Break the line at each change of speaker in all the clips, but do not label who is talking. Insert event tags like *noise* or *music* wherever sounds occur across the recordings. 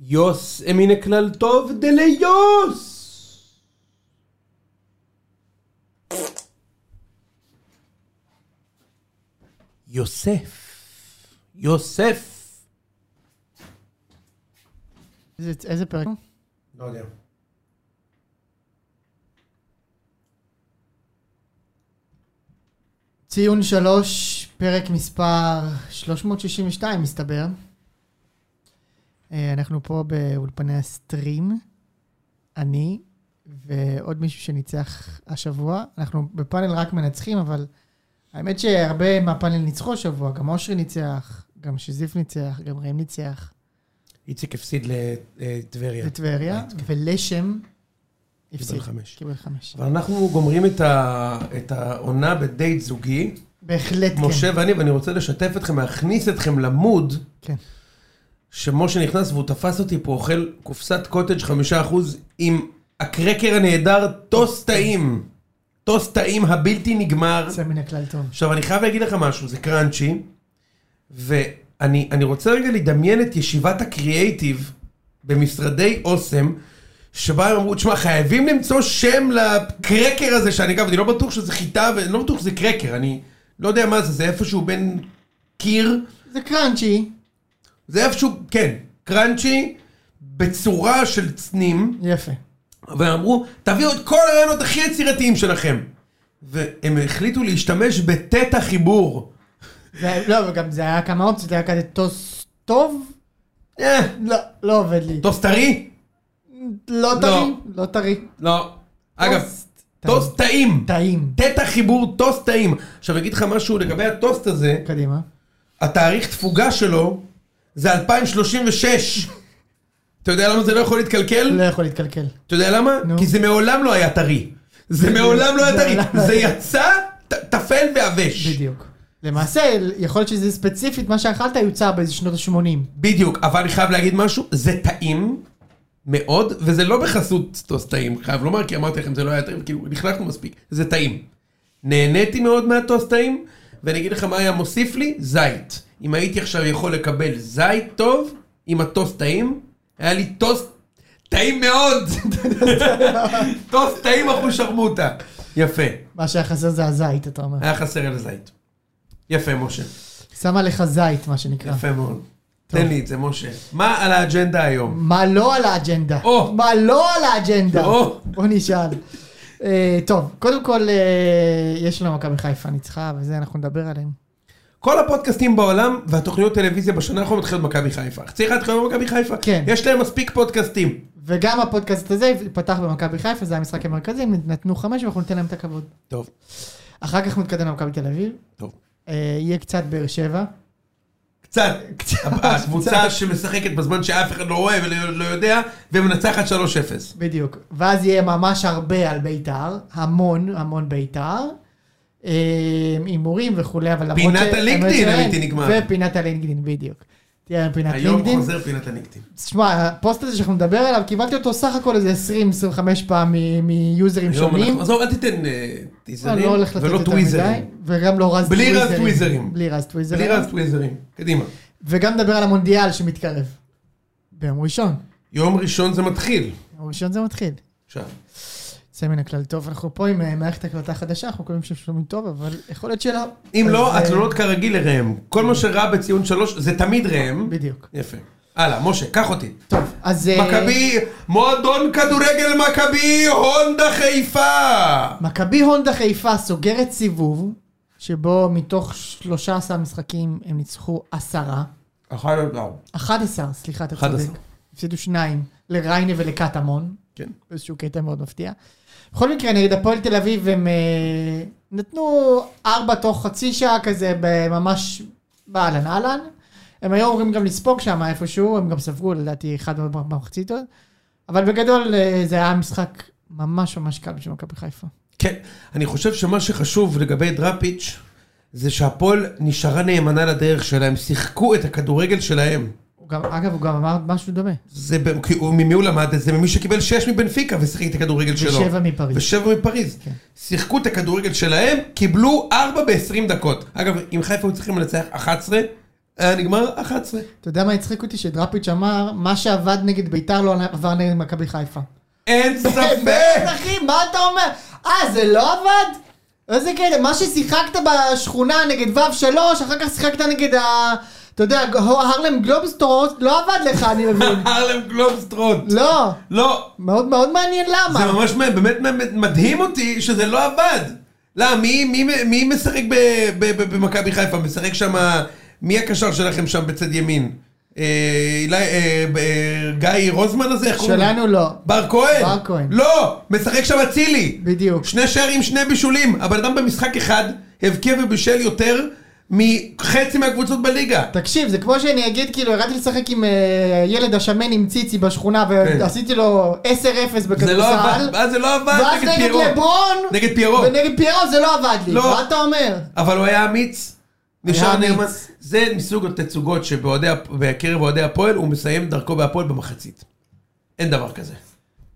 יוס אמינא כלל טוב דליוס! יוסף. יוסף.
איזה- איזה פרק?
לא יודע.
ציון שלוש, פרק מספר 362 מסתבר. אה, אנחנו פה באולפני הסטרים, אני ועוד מישהו שניצח השבוע. אנחנו בפאנל רק מנצחים, אבל האמת שהרבה מהפאנל ניצחו השבוע, גם אושרי ניצח, גם שזיף ניצח, גם ראם ניצח,
איציק הפסיד לטבריה.
וטבריה, ולשם הפסיד.
כן,
כן.
חמש.
קיבל חמש.
אבל אנחנו גומרים את, ה, את העונה בדייט זוגי,
בהחלט כן.
משה ואני, ואני רוצה לשתף אתכם, להכניס אתכם למוד,
כן.
שמשה נכנס והוא תפס אותי פה אוכל קופסת קוטג' חמישה אחוז עם הקרקר הנהדר טוס טעים. טוס טעים הבלתי נגמר.
יוצא מן הכלל טוב.
עכשיו, אני חייב להגיד לך משהו, זה קראנצ'י, ואני אני רוצה רגע לדמיין את ישיבת הקריאייטיב במשרדי אוסם, שבה הם אמרו, תשמע, חייבים למצוא שם לקרקר הזה שאני אגב, אני לא בטוח שזה חיטה, ואני לא בטוח שזה קרקר, אני לא יודע מה זה, זה איפשהו בין קיר,
זה קראנצ'י,
זה איפשהו, כן, קראנצ'י, בצורה של צנים.
יפה.
ואמרו, תביאו את כל הרעיונות הכי יצירתיים שלכם. והם החליטו להשתמש בטט החיבור.
זה, לא, וגם זה היה כמה אופציות, היה כזה טוס טוב?
אה,
לא, לא עובד לי.
טוס טרי?
לא טרי? לא טרי.
לא. אגב,
טוסט.
טוס טעים.
טעים.
תת החיבור טוס טעים. עכשיו אגיד לך משהו לגבי הטוסט הזה,
קדימה.
התאריך תפוגה שלו זה 2036. אתה יודע למה זה לא יכול להתקלקל?
לא יכול להתקלקל.
אתה יודע למה?
נו.
כי זה מעולם לא היה טרי. זה מעולם לא היה
זה
טרי.
מעולם-
זה יצא ט- טפל ועבש.
בדיוק. למעשה, יכול להיות שזה ספציפית, מה שאכלת יוצא באיזה שנות ה-80.
בדיוק, אבל אני חייב להגיד משהו, זה טעים מאוד, וזה לא בחסות טוס טעים, חייב לומר, כי אמרתי לכם זה לא היה טעים, כאילו נחלקנו מספיק, זה טעים. נהניתי מאוד מהטוס טעים, ואני אגיד לך מה היה מוסיף לי, זית. אם הייתי עכשיו יכול לקבל זית טוב, עם הטוס טעים, היה לי טוס טעים מאוד. *laughs* טוס טעים אחושרמוטה. יפה,
מה שהיה חסר זה הזית, אתה אומר.
היה חסר אל זית. יפה, משה.
אה. שמה לך זית, מה שנקרא.
יפה מאוד. תן לי את זה, משה. מה על האג'נדה היום?
מה לא על האג'נדה?
או.
מה לא על האג'נדה?
או.
בוא נשאל. אה, טוב, קודם כל, אה, יש לנו מכבי חיפה ניצחה, וזה, אנחנו נדבר עליהם.
כל הפודקאסטים בעולם והתוכניות טלוויזיה בשנה האחרונה מתחילות במכבי חיפה. צריך להתחיל במכבי חיפה?
כן.
יש להם מספיק פודקאסטים.
וגם הפודקאסט הזה פתח במכבי חיפה, זה המשחק המרכזי, הם נתנו חמש ואנחנו ניתן להם את הכבוד.
טוב,
אחר כך נתקדם למכבי תל אביב,
טוב.
אה, יהיה קצת באר שבע.
קצת. הקבוצה שמשחקת בזמן שאף אחד לא רואה ולא לא יודע, ומנצחת 3-0.
בדיוק. ואז יהיה ממש הרבה על בית"ר, המון המון בית"ר. אה, הימורים וכולי, אבל למרות
פינת
למרות
הלינקדאין,
שאין.
אמיתי, נגמר.
ופינת הלינקדאין, בדיוק. תהיה לנו פינת
היום
לינקדאין.
חוזר פינת הניקטים.
תשמע, הפוסט הזה שאנחנו נדבר עליו, קיבלתי אותו סך הכל איזה 20-25 פעם מ- מיוזרים
היום
שונים.
אנחנו... עזוב, אל תיתן אה,
אני
טיזרים
לא הולך לתת
ולא
יותר מדי,
טוויזרים.
וגם לא רז
בלי רז
טוויזרים.
טוויזרים.
בלי רז טוויזרים.
בלי רז טוויזרים. קדימה.
וגם נדבר על המונדיאל שמתקרב. ביום ראשון.
יום ראשון זה מתחיל.
ביום ראשון זה מתחיל.
עכשיו.
יוצא מן הכלל טוב, אנחנו פה עם אה, מערכת הקלטה חדשה, אנחנו מקווים ששומעים טוב, אבל יכול להיות שלא.
אם
אז,
לא,
אה,
התלונות כרגיל לראם. כל מה שרע בציון 3 זה תמיד ראם.
אה, בדיוק.
יפה. הלאה, משה, קח אותי.
טוב, אז... אה,
מכבי, מועדון כדורגל מכבי, הונדה חיפה!
מכבי הונדה חיפה סוגרת סיבוב, שבו מתוך 13 משחקים הם ניצחו עשרה.
אחת לא.
11, סליחה, אתה
11.
צודק. הפסידו שניים, לריינה ולקטמון.
כן.
באיזשהו קטע מאוד מפתיע. בכל מקרה, נגד הפועל תל אביב הם אה, נתנו ארבע תוך חצי שעה כזה, ב- ממש באהלן אהלן. הם היו אמורים גם לספוג שם איפשהו, הם גם ספגו לדעתי אחד מאוד במחצית עוד. אבל בגדול אה, זה היה משחק ממש ממש קל בשביל מכבי חיפה.
כן, אני חושב שמה שחשוב לגבי דראפיץ' זה שהפועל נשארה נאמנה לדרך שלה, הם שיחקו את הכדורגל שלהם.
הוא גם, אגב, הוא גם אמר משהו דומה.
זה ב- כי הוא- ממי הוא למד את זה? ממי שקיבל שש מבנפיקה ושיחק את הכדורגל שלו.
ושבע מפריז.
ושבע מפריז.
כן.
שיחקו את הכדורגל שלהם, קיבלו ארבע ב-20 דקות. אגב, אם חיפה היו צריכים לנצח 11, היה נגמר 11.
אתה יודע מה הצחיק אותי? שדראפיץ' אמר, מה שעבד נגד ביתר לא עבר נגד מכבי חיפה.
אין
כן, באמת,
ספק!
אחי, מה אתה אומר? אה, זה לא עבד? איזה קטע, מה ששיחקת בשכונה נגד ו3, אחר כך שיחקת נגד ה... אתה יודע, הרלם גלובסטורס, לא עבד לך, אני
*laughs*
מבין.
הרלם גלובסטרוט.
לא,
לא,
מאוד מאוד מעניין
זה
למה.
ממש מ- באמת מ- מדהים אותי שזה לא עבד. לא, מי, מי, מי משחק ב- ב- ב- במכבי חיפה? משחק שם... מי הקשר שלכם שם בצד ימין? אה, אילי- אה, ב- אה, גיא רוזמן הזה? איך קוראים לו?
שלנו לא.
בר כהן?
בר כהן.
לא! משחק שם אצילי!
בדיוק.
שני שערים, שני בישולים. הבן אדם במשחק אחד הבקיע ובישל יותר מחצי מהקבוצות בליגה.
תקשיב, זה כמו שאני אגיד, כאילו, ירדתי לשחק עם אה, ילד השמן עם ציצי בשכונה, ועשיתי לו 10-0 בכדורסל.
כן. זה לא עבד, אז זה לא עבד
ואז
נגד
נגד
פיירו.
לברון,
נגד פיירו.
ונגד פיירו זה לא עבד לי.
לא.
מה אתה אומר?
אבל הוא היה אמיץ. נשאר
היה
נאמן.
אמיץ.
זה מסוג התצוגות שבאוהדי הפ- בקרב אוהדי הפועל הוא מסיים דרכו בהפועל במחצית. אין דבר כזה.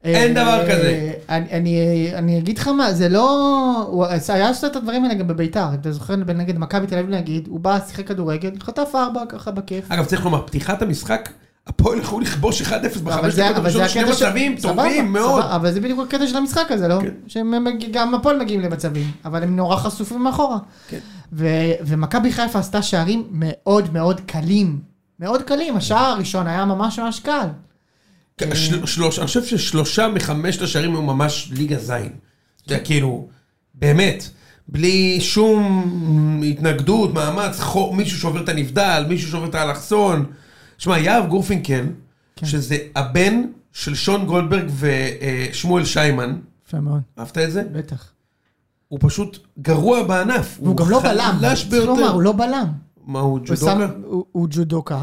אין
אה,
דבר כזה.
אני- אני- אני אגיד לך מה, זה לא... הוא עשה- היה עושה את הדברים האלה גם בביתר, אתה זוכר נגד מכבי תל אביב נגיד, הוא בא, שיחק כדורגל, חטף ארבע ככה בכיף.
אגב, צריך לומר, פתיחת המשחק, הפועל יכלו לכבוש 1-0
אבל
בחמש
זה,
דקות
אבל זה
הראשונות, שני
הקטע של...
מצבים
סבבה,
טובים מאוד.
סבבה, אבל זה בדיוק הקטע של המשחק הזה, לא?
כן.
שהם מג- גם הפועל מגיעים למצבים, אבל הם נורא חשופים מאחורה.
כן.
ו- ומכבי חיפה עשתה שערים מאוד מאוד קלים. מאוד קלים, השער הראשון היה ממש ממש קל. אה,
כן, של- שלוש- אני חושב ששלושה מחמשת השערים היו ממש ליגה זין.
כן.
אתה יודע, כאילו, באמת, בלי שום התנגדות, מאמץ, חור, מישהו שובר את הנבדל, מישהו שובר את האלכסון. שמע, יהב גורפינקל,
כן.
שזה הבן של שון גולדברג ושמואל שיימן,
יפה מאוד,
אהבת את זה?
בטח.
הוא פשוט גרוע בענף.
והוא גם לא בלם,
חלש
צריך
ביותר.
לומר, הוא לא בלם.
מה, הוא
הוא
ג'ודוקה?
שם- הוא- הוא ג'ודוקה,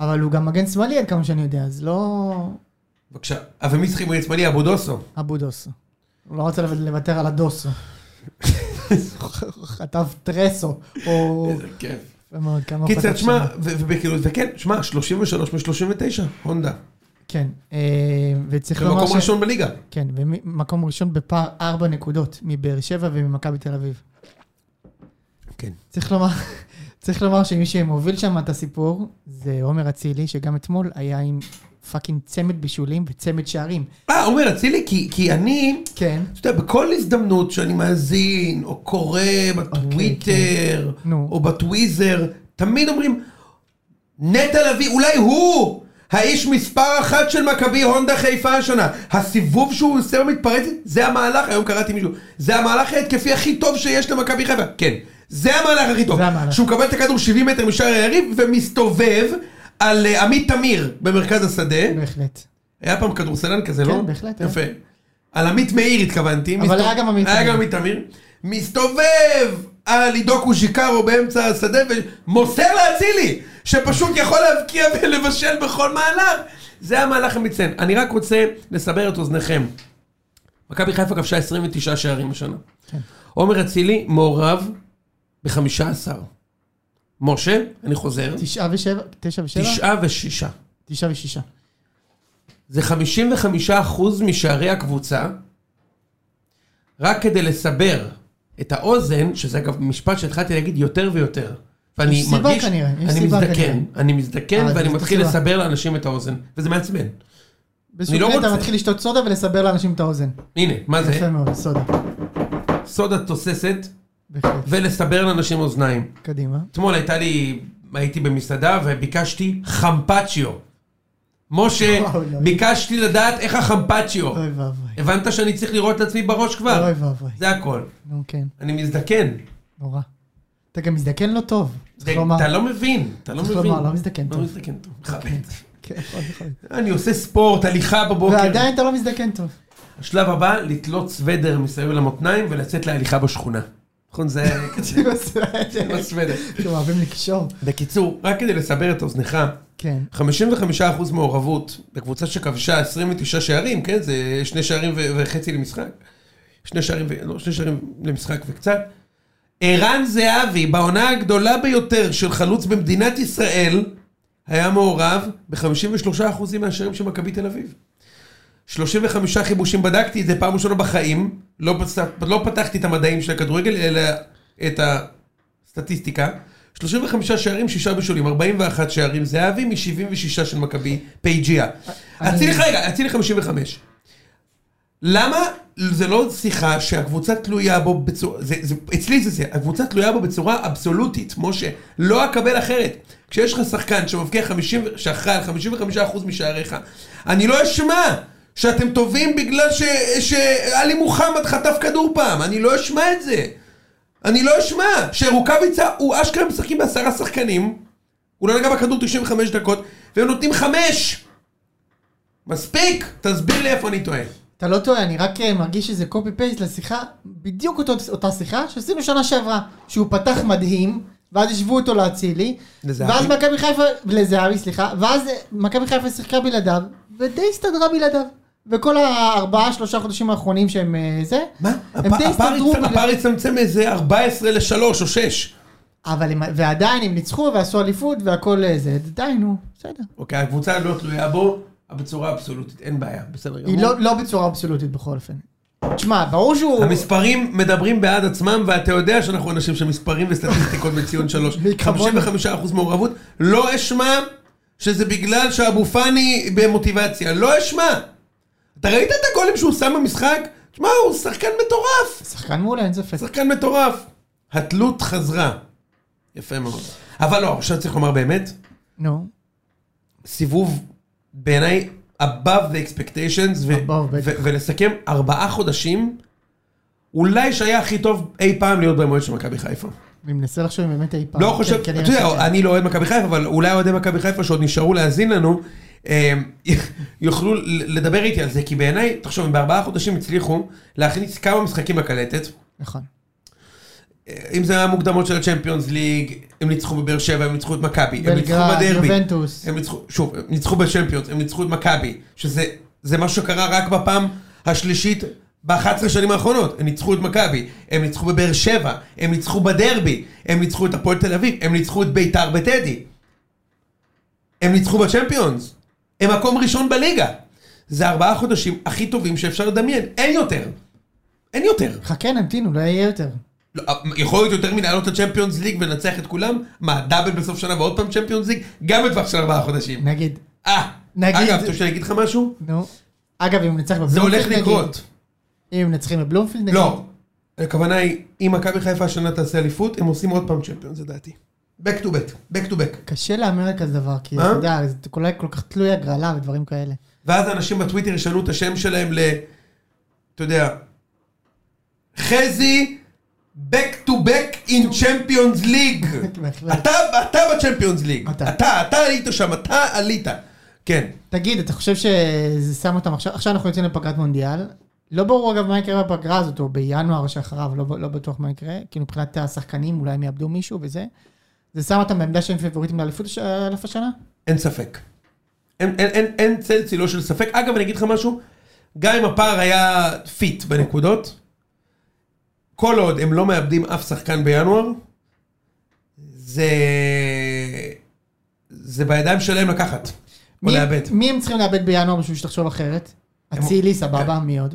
אבל הוא גם מגן שמאלי עד כמה שאני יודע, אז לא
בבקשה. אבל מי שיחק מגן שמאלי? אבו דוסו.
אבו דוסו. הוא לא רוצה לוותר על הדוסו. הוא חטף טרסו, או...
איזה כיף.
יפה מאוד, כמה
קיצר,
פתח
תשמע,
שם.
ו- וכאילו, וכן, שמע, 33 מ-39, הונדה.
כן, אה, וצריך לומר
במקום ראשון בליגה.
כן, ומקום ראשון בפער ארבע נקודות מבאר שבע וממכבי תל אביב.
כן.
צריך לומר, צריך לומר שמי שמוביל שם את הסיפור זה עומר אצילי, שגם אתמול היה עם פאקינג צמד בישולים וצמד שערים.
אה, עומר אצילי, כי- כי אני,
כן.
אתה יודע, בכל הזדמנות שאני מאזין, או קורא בטוויטר,
כן. נו.
או בטוויזר, תמיד אומרים, נטע לביא, אולי הוא! האיש מספר אחת של מכבי הונדה חיפה השנה. הסיבוב שהוא עושה במתפרצת, זה המהלך, היום קראתי מישהו, זה המהלך ההתקפי הכי טוב שיש למכבי חיפה. כן, זה המהלך הכי טוב.
זה המהלך.
שהוא מקבל את הכדור 70 מטר משער היריב, ומסתובב על אה, עמית תמיר במרכז השדה.
כן, בהחלט.
היה פעם כדורסלן כזה,
כן,
לא?
בהחלט, היה.
יפה. על עמית מאיר התכוונתי.
אבל היה גם עמית
היה
מאיר.
גם עמית תמיר. מסתובב על עידו קוז'יקרו באמצע השדה ומוסר לאצילי, שפשוט יכול להבקיע ולבשל בכל מהלך. זה המהלך המצטיין. אני רק רוצה לסבר את אוזניכם. מכבי חיפה כבשה 29 שערים השנה.
כן.
עומר אצילי מעורב ב-15. משה, אני חוזר,
תשעה ושבע? תשע ושבע?
תשעה ושישה.
תשעה ושישה.
זה 55% משערי הקבוצה, רק כדי לסבר את האוזן, שזה אגב משפט שהתחלתי להגיד יותר ויותר. ואני
יש סיבה
מרגיש,
כנראה, יש
אני
סיבה
מזדקן,
כנראה.
אני מזדקן
אה,
ואני
זאת
מתחיל
הסיבה.
לסבר לאנשים את האוזן, וזה מעצבן.
בסוג
לא
של אתה
רוצה.
מתחיל לשתות סודה ולסבר לאנשים את האוזן.
הנה, מה זה?
יפה מאוד, סודה.
סודה תוססת
בהחלט.
ולסבר לאנשים אוזניים.
קדימה.
אתמול הייתה לי, הייתי במסעדה וביקשתי חמפצ'יו. משה,
*laughs* וואו, לא. אלוהים.
ביקשתי לדעת איך החמפצ'יו.
אוי ואבוי.
הבנת שאני צריך לראות את עצמי בראש כבר?
אוי ואבוי.
זה הכל.
נו כן,
אני מזדקן.
נורא. אתה גם מזדקן לא טוב. צריך לומר.
אתה לא מבין, אתה לא
צריך
מבין.
לומר, לא מזדקן
לא
טוב.
מזדקן טוב. מכבד.
כן, יכול, יכול.
אני עושה ספורט, הליכה בבוקר.
ועדיין אתה לא מזדקן
*laughs*
טוב. *laughs*
השלב הבא, לתלות סוודר מסביב למותניים ולצאת להליכה בשכונה. נכון, זה היה כזה, *laughs* זה לא סוודר.
אתם אוהבים לקשור.
בקיצור, רק כדי לסבר את אוזנך,
כן.
55% מעורבות בקבוצה שכבשה 29 שערים, כן? זה שני שערים ו- וחצי למשחק. שני שערים, ו- לא, שני שערים למשחק וקצת. ערן זהבי, בעונה הגדולה ביותר של חלוץ במדינת ישראל, היה מעורב ב-53% מהשערים של מכבי תל אביב. 35 חיבושים בדקתי, זה פעם ראשונה בחיים. לא, פס... לא פתחתי את המדעים של הכדורגל, אלא את הסטטיסטיקה. 35 שערים, 6 בישולים, 41 שערים, זהבי מ-76 של מכבי, פייג'יה.
אני-
אצילי, רגע, אצילי 55. למה זה לא שיחה שהקבוצה תלויה בו בצורה, זה, זה, אצלי זה זה, הקבוצה תלויה בו בצורה אבסולוטית, משה, לא אקבל אחרת. כשיש לך שחקן שמבקיע 50, ו- שאחראי על 55% משעריך, אני לא אשמע שאתם טובים בגלל ש- שאלי מוחמד חטף כדור פעם, אני לא אשמע את זה. אני לא אשמע שרוקאביצה הוא אשכרה משחקים בעשרה שחקנים, הוא לא נגע בכדור 95 דקות, והם נותנים חמש! מספיק! תסביר לי איפה אני טועה.
אתה לא טועה, אני רק אה, מרגיש שזה קופי פייסט לשיחה, בדיוק אותו, אותה שיחה שעשינו שנה שעברה, שהוא פתח מדהים, ואז השוו אותו לאצילי,
לזהבי.
ואז מכבי חיפה, לזהבי סליחה, ואז אה, מכבי חיפה שיחקה בלעדיו, ודי הסתדרה בלעדיו. וכל הארבעה, שלושה חודשים האחרונים שהם אה, זה,
מה?
הם די
הפ- הפער
הסתדרו,
הצ- הפער הצטמצם מאיזה 14 ל-3 או 6.
אבל הם, ועדיין הם ניצחו ועשו אליפות והכל אה, זה, די נו, בסדר.
אוקיי, הקבוצה לא תלויה בו בצורה אבסולוטית, אין בעיה, בסדר
היא
גמור.
לא, לא בצורה אבסולוטית בכל אופן. תשמע, ברור שהוא...
המספרים מדברים בעד עצמם, ואתה יודע שאנחנו אנשים של מספרים וסטטיסטיקות בציון
*laughs*
3.
מי כמונו.
55% מעורבות, לא אשמע שזה בגלל שאבו פאני במוטיבציה, לא אשמע. אתה ראית את הגולים שהוא שם במשחק? תשמע, הוא שחקן מטורף.
שחקן מעולה, אין ספק.
שחקן מטורף. התלות חזרה. יפה מאוד. אבל לא, עכשיו צריך לומר באמת,
נו.
סיבוב בעיניי above the expectations, ו-
Above,
ו-
בטח.
ולסכם ארבעה חודשים, אולי שהיה הכי טוב אי פעם להיות במועד של מכבי חיפה.
אני מנסה לחשוב אם באמת אי פעם.
לא
אה, כן,
חושב, אתה
כנראה
יודע,
שכן.
אני לא אוהד מכבי חיפה, אבל אולי אוהדי מכבי חיפה שעוד נשארו להאזין לנו, אה, *laughs* יוכלו ל- לדבר איתי על זה, כי בעיניי, תחשוב, אם בארבעה חודשים הצליחו להכניס כמה משחקים לקלטת,
נכון.
אם זה היה מוקדמות של הצ'מפיונס ליג, הם ניצחו בבאר שבע, הם ניצחו את מכבי, הם ניצחו
בלגרד,
בדרבי,
יובנטוס.
הם ניצחו, שוב, הם ניצחו בצ'מפיונס, הם ניצחו את מכבי, שזה זה משהו שקרה רק בפעם השלישית ב-11 שנים האחרונות, הם ניצחו את מכבי, הם ניצחו בבאר שבע, הם ניצחו בדרבי, הם ניצחו את הפועל תל אביב, הם ניצחו את ביתר בטדי, הם ניצחו בצ'מפיונס, הם מקום ראשון בליגה. זה ארבעה חודשים הכי טובים שאפשר לדמיין, אין יותר. אין יותר.
חכה, נמתין, אולי יהיה יותר.
לא, יכול להיות יותר מלעלות לצ'מפיונס ליג ולנצח את כולם? מה, דאבל בסוף שנה ועוד פעם צ'מפיונס ליג? גם בטווח של ארבעה חודשים.
נגיד.
אה,
נגיד-
אגב, אתה רוצה שאני אגיד לך משהו?
נו. אגב, אם נצח
זה
בבלומפילד,
הולך
נגיד.
לקרות.
אם הם נצחים בבלומפילד, נגיד.
לא. הכוונה היא, אם מכבי חיפה השנה תעשה אליפות, הם עושים עוד פעם צ'מפיונס, לדעתי. back to back, back to back.
קשה להמר על כזה דבר, כי
מה?
אתה יודע, זה כל כל כך תלוי הגרלה ודברים כאלה.
ואז אנשים בטוויטר ישנו את השם שלהם ל... אתה יודע, חזי, back to back in Champions
*laughs*
League.
בהחלט.
אתה, אתה בצ'מפיונס ליג.
אתה.
אתה, אתה עלית שם, אתה עלית. כן.
תגיד, אתה חושב שזה שם אותם עכשיו? עכשיו אנחנו יוצאים לפגרת מונדיאל. לא ברור אגב מה יקרה בפגרה הזאת, או בינואר שאחריו, לא, לא בטוח מה יקרה. כאילו מבחינת השחקנים, אולי הם יאבדו מישהו וזה. זה שם אותם בעמדה שהם פיבוריטים לאליפות הש- אלף השנה?
אין ספק. אין, אין, אין, אין צל צילו של ספק. אגב, אני אגיד לך משהו, גם אם הפער היה פיט בנקודות, כל עוד הם לא מאבדים אף שחקן בינואר, זה... זה בידיים שלהם לקחת. או
מי-
לאבד.
מי הם צריכים לאבד בינואר בשביל שתחשוב אחרת?
הם- כן.
אצילי, סבבה, מי עוד?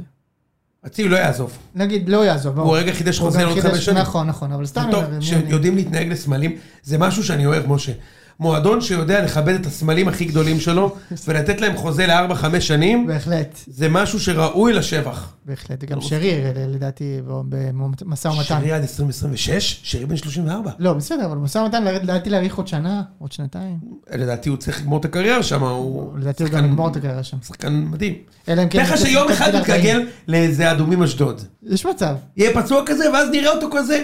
אצילי לא יעזוב.
נגיד, לא יעזוב, ברור.
הוא הרגע חידש
הוא
חוזה
גם
לעוד
חידש-
חמש שנים.
נכון, נכון, אבל סתם...
זה
אני אומר,
טוב,
מי אני-
שיודעים להתנהג לסמלים, זה משהו שאני אוהב, משה. מועדון שיודע לכבד את הסמלים הכי גדולים
*laughs*
שלו, ולתת להם חוזה לארבע, חמש שנים,
בהחלט,
זה משהו שראוי לשבח.
בהחלט. גם שרי, לדעתי, במשא ומתן.
אוקיי. שרי עד 2026, שרי בן 34.
לא, בסדר, אבל משא ומתן, לדעתי להאריך עוד שנה, עוד שנתיים.
לדעתי הוא צריך לגמור את הקריירה שם, הוא
לדעתי הוא
שחקן-
גם יגמור את הקריירה שם.
שחקן מדהים.
אלא אם כן...
תאר לך
הוא
שיום
מתחיל
אחד
בגיל 40.
יתגלגל לאיזה אדומים אשדוד.
יש מצב.
יהיה פצוע כזה, ואז נראה אותו כזה,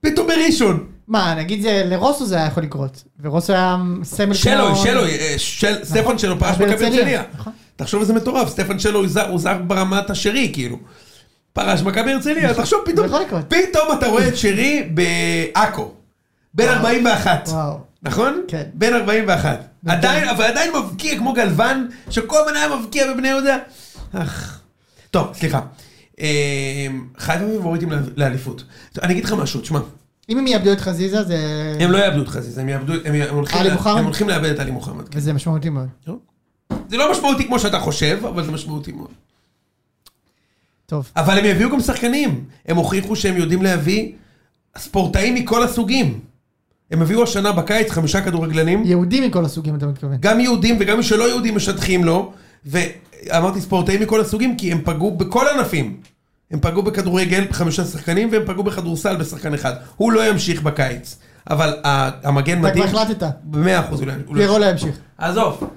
פתאום בראשון.
מה, נגיד זה, לרוסו זה היה יכול לקרות. ורוסו היה סמל...
שלוי,
כמו-
שלוי, אה, של- סטפן שלו פרש
נכון. אבל
מכבי
הרצליה,
הרצליה.
נכון.
תחשוב איזה מטורף, סטפן שלו הוא זר- הוא זר ברמת השרי, כאילו. פרש מכבי הרצליה, תחשוב פתאום,
נכון. יכול לקרות.
פתאום אתה רואה את שרי בעכו. בן 41.
וואו.
נכון?
כן. נכון.
בן 41. עדיין, אבל עדיין מבקיע כמו גלוון, שכל הזמן היה מבקיע בבני יהודה. אך. טוב, סליחה. אמ, חיפה פיבוריטים לא- לאליפות. טוב, אני אגיד לך משהו, תשמע,
אם הם יאבדו את חזיזה, זה...
הם לא יאבדו את חזיזה, הם יאבדו, הם הם הולכים
כן. עלי
לה-
מוחמד?
הם הולכים לאבד את עלי מוחמד. כן.
וזה משמעותי מאוד.
זה לא משמעותי כמו שאתה חושב, אבל זה משמעותי מאוד.
טוב.
אבל הם יביאו גם שחקנים. הם הוכיחו שהם יודעים להביא ספורטאים מכל הסוגים. הם הביאו השנה בקיץ חמישה כדורגלנים.
יהודים מכל הסוגים, אתה מתכוון.
גם יהודים וגם מי שלא יהודים משטחים לו, ואמרתי ספורטאים מכל הסוגים, כי הם פגעו בכל ענפים. הם פגעו בכדורגל בחמישה שחקנים, והם פגעו בכדורסל בשחקן אחד. הוא לא ימשיך בקיץ, אבל ה- המגן
אתה כבר
מדהים.
החלטת.
במאה אחוז אולי. אולי-
פירו לא ימשיך.
עזוב,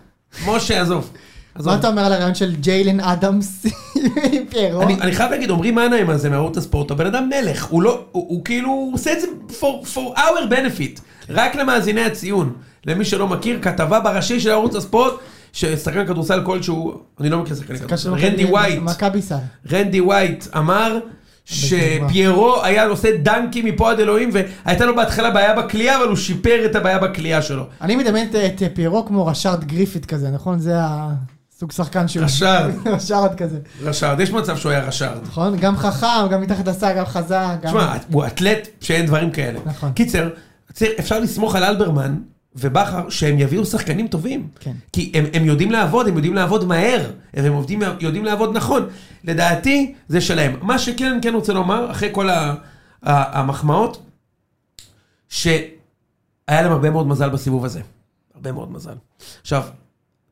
משה עזוב. עזוב.
מה אתה אומר על הרעיון של ג'יילן אדמס *laughs* עם פירו?
אני, אני חייב להגיד, עמרי מנהיים הזה מערוץ הספורט, הבן אדם מלך, הוא לא, הוא, הוא כאילו, הוא עושה את זה for, for our benefit, רק למאזיני הציון. למי שלא מכיר, כתבה בראשי של ערוץ הספורט, ששחקן כדורסל כלשהו, אני לא מכיר שחקן כדורסל,
קשור
רנדי
מכבי-
ווייט,
מכבי סל.
רנדי ווייט אמר שפיירו היה עושה דנקים מפה עד אלוהים, והייתה לו בהתחלה בעיה בכלייה, אבל הוא שיפר את הבעיה בכלייה שלו.
אני מדמיין את- את פירו כמו רשארד גריפיט כזה, נכון? זה הסוג שחקן שלו. *laughs*
רשארד.
רשארד כזה.
רשארד, יש מצב שהוא היה רשארד.
נכון? גם חכם, גם מתחת לסל, גם חזק. גם-
תשמע, הוא אתלט שאין דברים כאלה.
נכון.
קיצר, צריך- אפשר לסמוך על אלברמן ובכר שהם יביאו שחקנים טובים.
כן.
כי הם, הם יודעים לעבוד, הם יודעים לעבוד מהר, והם עובדים, יודעים לעבוד נכון. לדעתי, זה שלהם. מה שכן אני כן רוצה לומר, אחרי כל ה, ה, המחמאות, שהיה להם הרבה מאוד מזל בסיבוב הזה. הרבה מאוד מזל. עכשיו,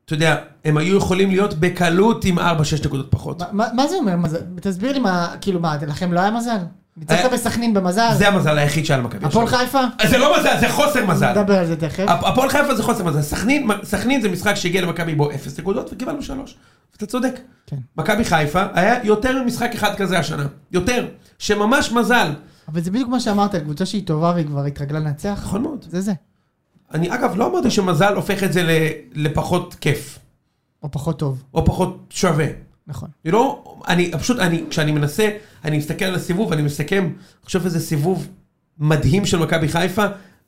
אתה יודע, הם היו יכולים להיות בקלות עם 4-6 נקודות פחות.
מה- מה מה זה אומר מזל? תסביר לי מה, כאילו מה, לכם לא היה מזל? ניצחת
היה-
בסכנין במזל?
אה, זה המזל היחיד שהיה למכבי.
הפועל
עכשיו.
חיפה?
זה לא מזל, זה חוסר מזל.
נדבר על זה תכף.
הפ- הפועל חיפה זה חוסר מזל. סכנין, סכנין זה משחק שהגיע למכבי בו 0 נקודות וקיבלנו 3. אתה צודק.
כן.
מכבי חיפה היה יותר ממשחק אחד כזה השנה. יותר. שממש מזל.
אבל זה בדיוק מה שאמרת, על קבוצה שהיא טובה והיא כבר התרגלה לנצח.
נכון מאוד.
זה זה.
אני אגב לא אמרתי שמזל הופך את זה ל- לפחות כיף.
או פחות טוב.
או פחות שווה.
נכון.
אני לא, אני פשוט, אני, כשאני מנסה, אני מסתכל על הסיבוב, אני מסכם, אני חושב איזה סיבוב מדהים של מכבי חיפה,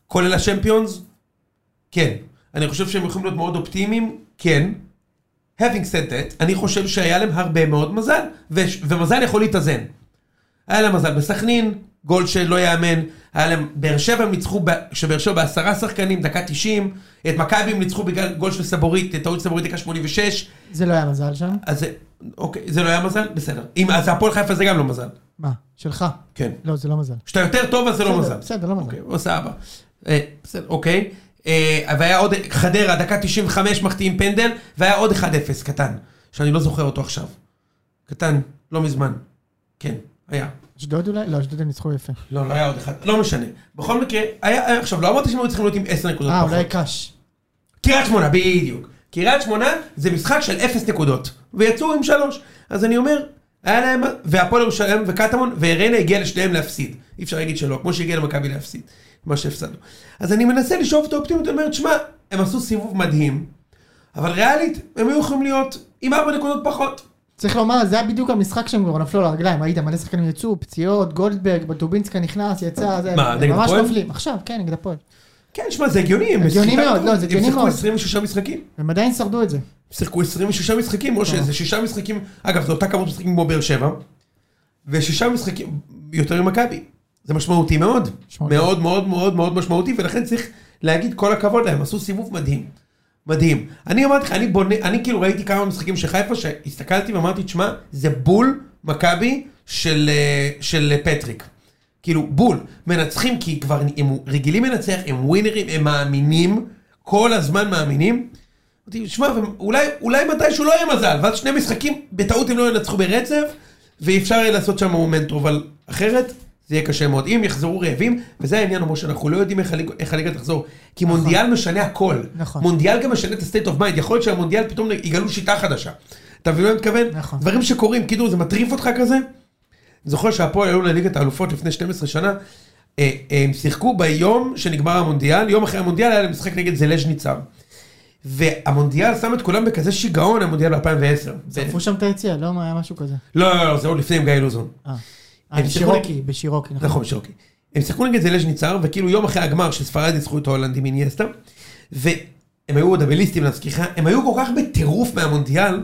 כולל השמפיונס, כן. אני חושב שהם יכולים להיות מאוד אופטימיים, כן. Having said that, אני חושב שהיה להם הרבה מאוד מזל, ו- ומזל יכול להתאזן. היה להם מזל בסכנין, גול שלא ייאמן, היה להם, באר שבע הם ניצחו, ב- שבאר שבע בעשרה שחקנים, דקה 90, את מכבי הם ניצחו בגלל גול של סבורית, טעות סבורית דקה 86,
זה לא היה מזל שם.
אז זה- אוקיי, זה לא היה מזל? בסדר. אם, אז הפועל חיפה זה גם לא מזל.
מה? שלך.
כן.
לא, זה לא מזל.
כשאתה יותר טוב אז זה לא
בסדר,
מזל.
בסדר, לא מזל.
אוקיי, או סבבה. אה, בסדר, אוקיי. אה, והיה עוד, חדרה, דקה 95 מחטיאים פנדל, והיה עוד 1-0 קטן, שאני לא זוכר אותו עכשיו. קטן, לא מזמן. כן, היה.
אשדוד אולי? לא, אשדוד הם ניצחו יפה.
לא, לא היה עוד אחד, לא משנה. בכל מקרה, היה, היה- עכשיו, לא אמרתי שהם היו צריכים להיות עם 10 נקודות
אה,
לא פחות.
אולי קאש.
קריית שמונה, בדיוק. קריית שמונה זה משחק של אפס נקודות, ויצאו עם שלוש. אז אני אומר, היה להם, והפועל ירושלים וקטמון, וריינה הגיע לשניהם להפסיד. אי אפשר להגיד שלא, כמו שהגיע למכבי להפסיד, מה שהפסדנו. אז אני מנסה לשאוף את האופטימיות, אני אומר, תשמע, הם עשו סיבוב מדהים, אבל ריאלית, הם היו יכולים להיות עם ארבע נקודות פחות.
צריך לומר, זה היה בדיוק המשחק שהם כבר נפלו על הרגליים, ראית מלא שחקנים יצאו, פציעות, גולדברג, בטובינסקה נכנס, יצא, זה,
מה,
הם
נגד
ממש
הפועל?
נופלים, עכשיו, כן, נגד הפועל.
כן, שמע, זה הגיוני, הם
הגיוני
שיחקו-
מאוד, לא, זה הגיוני מאוד.
הם שיחקו 26 משחקים.
הם עדיין שרדו את זה.
שיחקו 26 משחקים, או שזה שישה משחקים, אגב, זו אותה כמות משחקים כמו באר שבע, ושישה משחקים יותר ממכבי. זה משמעותי מאוד.
משמעותי.
מאוד מאוד מאוד מאוד משמעותי, ולכן צריך להגיד כל הכבוד להם, עשו סיבוב מדהים. מדהים. אני אמרתי לך, אני בונה, אני כאילו ראיתי כמה משחקים של חיפה, שהסתכלתי ואמרתי, תשמע, זה בול מכבי של, אה, של אה, פטריק. כאילו, בול. מנצחים כי כבר הם רגילים לנצח, הם ווינרים, הם מאמינים, כל הזמן מאמינים. אמרתי, שמע, והם- אולי, אולי מתישהו לא יהיה מזל, ואז שני משחקים, בטעות הם לא ינצחו ברצף, ואפשר יהיה לעשות שם מומנטום, אבל אחרת זה יהיה קשה מאוד. אם יחזרו רעבים, וזה העניין, משה, אנחנו לא יודעים איך הליג- איך הליגה תחזור, כי מונדיאל משנה הכל.
נכון.
מונדיאל גם משנה את הסטייט אוף מיינד, יכול להיות שהמונדיאל פתאום יגלו שיטה חדשה. אתה מבין מה אני מתכוון?
נכון.
דברים שקורים, כאילו זה מטריף אותך כזה. זוכר שהפועל היו לליגת האלופות לפני 12 שנה, אה, אה, הם שיחקו ביום שנגמר המונדיאל, יום אחרי המונדיאל היה להם משחק נגד זלז'ניצר. והמונדיאל שם את כולם בכזה שיגעון, המונדיאל ב-2010.
שרפו שם את היציאה, לא מה, היה משהו כזה.
לא, לא, לא, זה עוד לפני עם גיא לוזון.
אה,
הם
אה,
שיחקו-
בשירוקי, בשירוקי, נכון.
נכון, שרוקי. הם שיחקו נגד זלז'ניצר, וכאילו יום אחרי הגמר שספרד ניצחו את ההולנדים איניאסטה, והם היו עוד אבליסטים להזכירך, הם היו כל כך בטירוף מהמונדיאל,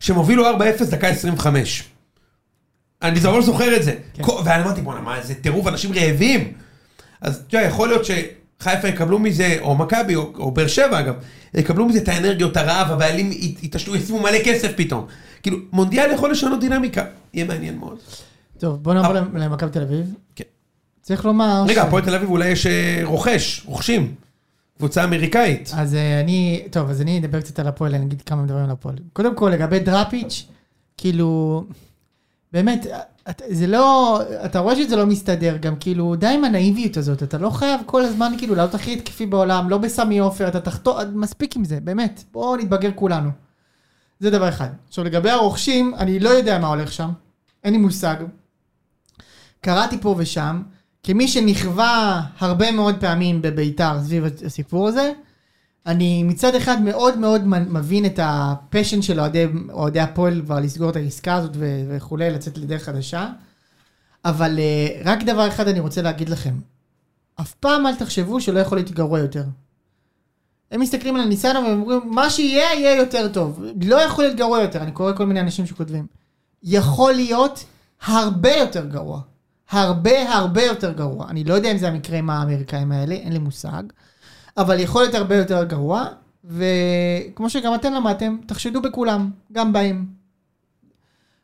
שהם הובילו 4-0 דקה 25. אני ממש זוכר את זה.
כן.
כל- ואני אמרתי, בואנה, מה, זה טירוף, אנשים רעבים. אז אתה יודע, יכול להיות שחיפה יקבלו מזה, או מכבי, או, או באר שבע אגב, יקבלו מזה את האנרגיות, הרעב, הבעלים ית- יתעשתו, ישימו מלא כסף פתאום. כאילו, מונדיאל יכול לשנות דינמיקה, יהיה מעניין מאוד.
טוב, בוא נעבור למכבי תל אביב.
אה. כן.
צריך לומר...
רגע,
ש-
הפועל תל אביב אולי יש אה, רוכש, רוכשים. קבוצה אמריקאית.
אז אה, אני, טוב, אז אני אדבר קצת על הפועל, אני אגיד כמה דברים על הפועל. קודם כל, לגבי דראפיץ', כאילו, באמת, את- זה לא, אתה רואה שזה לא מסתדר, גם כאילו, די עם הנאיביות הזאת, אתה לא חייב כל הזמן כאילו לעלות הכי התקפי בעולם, לא בסמי עופר, אתה תחתור, מספיק עם זה, באמת, בואו נתבגר כולנו. זה דבר אחד. עכשיו, לגבי הרוכשים, אני לא יודע מה הולך שם, אין לי מושג. קראתי פה ושם, כמי שנכווה הרבה מאוד פעמים בביתר סביב הסיפור הזה, אני מצד אחד מאוד מאוד מ- מבין את הפשן של אוהדי- אוהדי הפועל כבר לסגור את העסקה הזאת ו- וכולי, לצאת לדרך חדשה, אבל אה, רק דבר אחד אני רוצה להגיד לכם, אף פעם אל תחשבו שלא יכול להיות גרוע יותר. הם מסתכלים על הניסיון והם אומרים, מה שיהיה, יהיה יותר טוב. לא יכול להיות גרוע יותר, אני קורא כל מיני אנשים שכותבים. יכול להיות הרבה יותר גרוע. הרבה הרבה יותר גרוע. אני לא יודע אם זה המקרה עם האמריקאים האלה, אין לי מושג. אבל יכול להיות הרבה יותר גרוע, וכמו שגם אתם למדתם, תחשדו בכולם, גם בהם.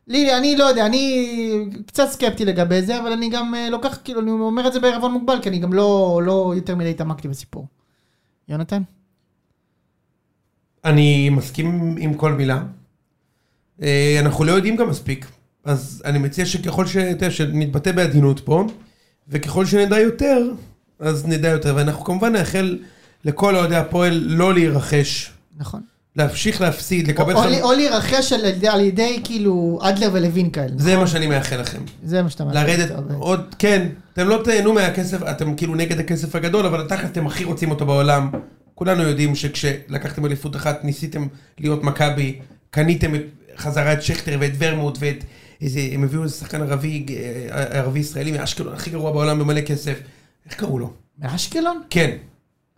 לי, אני לא יודע, אני קצת סקפטי לגבי זה, אבל אני גם אה, לוקח, כאילו, אני אומר את זה בערבון מוגבל, כי אני גם לא, לא יותר מדי התעמקתי בסיפור. יונתן?
אני מסכים עם כל מילה. אה, אנחנו לא יודעים גם מספיק, אז אני מציע שככל ש... אתה יודע, שנתבטא בעדינות פה, וככל שנדע יותר, אז נדע יותר. ואנחנו כמובן נאחל לכל אוהדי הפועל לא להירכש,
נכון.
להמשיך להפסיד,
או,
לקבל...
או,
חמ-
לי- או להירכש על, ידי- על ידי, כאילו, אדלר ולוין כאלה.
זה מה שאני מאחל לכם.
זה מה שאתה אומר.
לרדת
טוב, אה.
עוד, כן, אתם לא תהנו מהכסף, אתם כאילו נגד הכסף הגדול, אבל תכל'ס אתם הכי רוצים אותו בעולם. כולנו יודעים שכשלקחתם אליפות אחת, ניסיתם להיות מכבי, קניתם את, חזרה את שכטר ואת ורמוט ואת איזה, הם הביאו איזה שחקן ערבי, אה, ערבי ישראלי מאשקלון, הכי גרוע בעולם במלא כסף. איך קראו לו?
מאשקלון?
כן,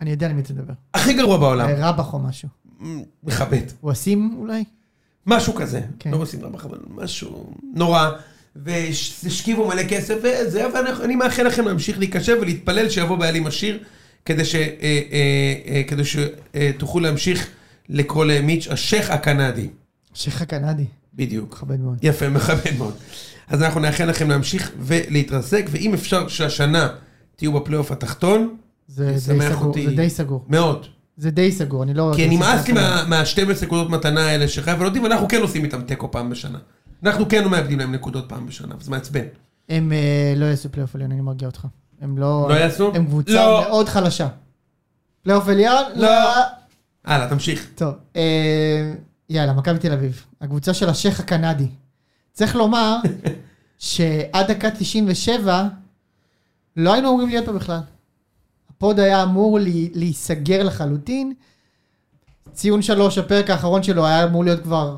אני יודע על מי אתה מדבר.
הכי גרוע בעולם.
רבח או משהו.
מכבד.
הוא אסים אולי?
משהו כזה,
כן.
לא עושים רבח, אבל משהו נורא. והשכיבו מלא כסף וזה, ואני מאחל לכם להמשיך להיקשב ולהתפלל שיבוא בעלים עשיר, כדי, ש, אה, אה, אה, כדי שתוכלו להמשיך לקרוא למיץ' השייח הקנדי.
שייח הקנדי.
בדיוק.
מכבד מאוד.
יפה, *laughs* מכבד מאוד. אז אנחנו נאחל לכם להמשיך ולהתרסק, ואם אפשר שהשנה תהיו בפלייאוף התחתון,
זה די
ישמח
סגור,
אותי.
זה די סגור.
מאוד.
זה די סגור, אני לא...
כי
לא
נמאס
שמח
לי
עליו.
מה-12 נקודות מתנה האלה שחייב ונותנים, ואנחנו כן עושים איתם תיקו פעם בשנה. אנחנו כן מאבדים להם נקודות פעם בשנה, וזה מעצבן.
הם אה, לא יעשו פלייאוף עליון, אני מרגיע אותך. הם לא...
לא יעשו?
הם קבוצה
לא.
מאוד חלשה. פלייאוף עליון?
לא. הלאה, תמשיך.
טוב, אה, יאללה, מכבי תל אביב. הקבוצה של השייח הקנדי. צריך לומר שעד דקה 97 לא היינו אמורים להיות פה בכלל. הפוד היה אמור לי, להיסגר לחלוטין. ציון שלוש, הפרק האחרון שלו היה אמור להיות כבר,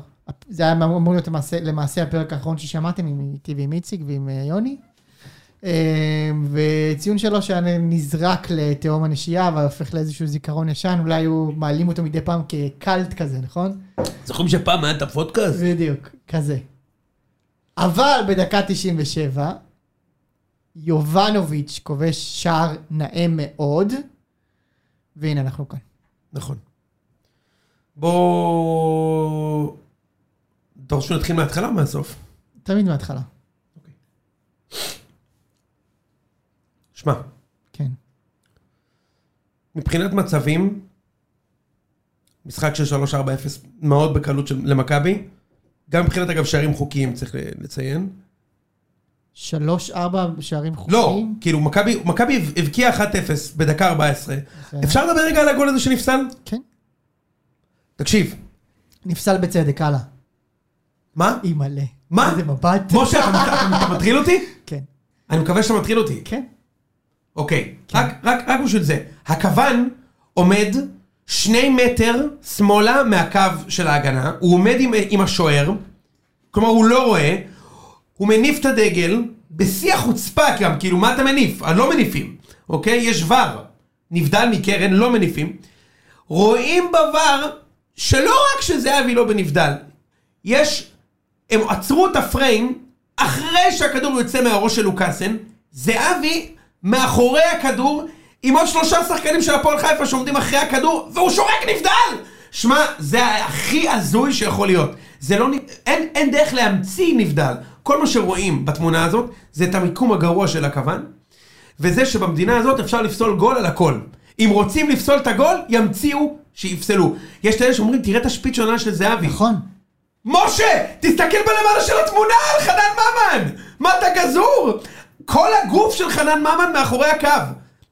זה היה אמור להיות למעשה, למעשה הפרק האחרון ששמעתם עם- איתי ועם איציק ועם אה, יוני. אה, וציון שלוש היה נזרק לתהום הנשייה והופך לאיזשהו זיכרון ישן, אולי היו מעלים אותו מדי פעם כקלט כזה, נכון?
זוכרים שפעם היה את הפודקאסט?
בדיוק, כזה. אבל בדקה 97, יובנוביץ' כובש שער נאה מאוד, והנה אנחנו כאן.
נכון. בואו... דורשו נתחיל מההתחלה או מהסוף?
תמיד מההתחלה,
שמע,
כן.
מבחינת מצבים, משחק של 3-4-0 מאוד בקלות של- למכבי. גם מבחינת, אגב, שערים חוקיים, צריך לציין.
שלוש, ארבע שערים
לא,
חוקיים.
כאילו, מכבי מכבי הבקיעה 1-0 בדקה 14.
זה-
אפשר לדבר רגע על הגול הזה שנפסל?
כן.
תקשיב,
נפסל בצדק, הלאה.
מה?
אימא'לה.
מה?
איזה מבט.
משה, אתה מת- אתה מטריל אותי?
כן.
אני מקווה שאתה מטריל אותי.
כן.
אוקיי, רק- רק רק בשביל זה. הכוון עומד שני מטר שמאלה מהקו של ההגנה, הוא עומד עם- עם השוער, כלומר הוא לא רואה, הוא מניף את הדגל, בשיא החוצפה גם, כאילו מה אתה מניף? אני לא מניפים, אוקיי? יש ור, נבדל מקרן, לא מניפים. רואים בוואר שלא רק שזהבי לא בנבדל, יש, הם עצרו את הפריים אחרי שהכדור יוצא מהראש של לוקאסן, זהבי מאחורי הכדור עם עוד שלושה שחקנים של הפועל חיפה שעומדים אחרי הכדור והוא שורק נבדל! שמע, זה הכי הזוי שיכול להיות. זה לא, נ- אין, אין דרך להמציא נבדל. כל מה שרואים בתמונה הזאת זה את המיקום הגרוע של הכוון וזה שבמדינה הזאת אפשר לפסול גול על הכל. אם רוצים לפסול את הגול, ימציאו שיפסלו. יש את אלה שאומרים, תראה את השפיץ שונה של זהבי.
נכון.
משה, תסתכל בלמעלה של התמונה על חנן ממן! מה אתה גזור? כל הגוף של חנן ממן מאחורי הקו.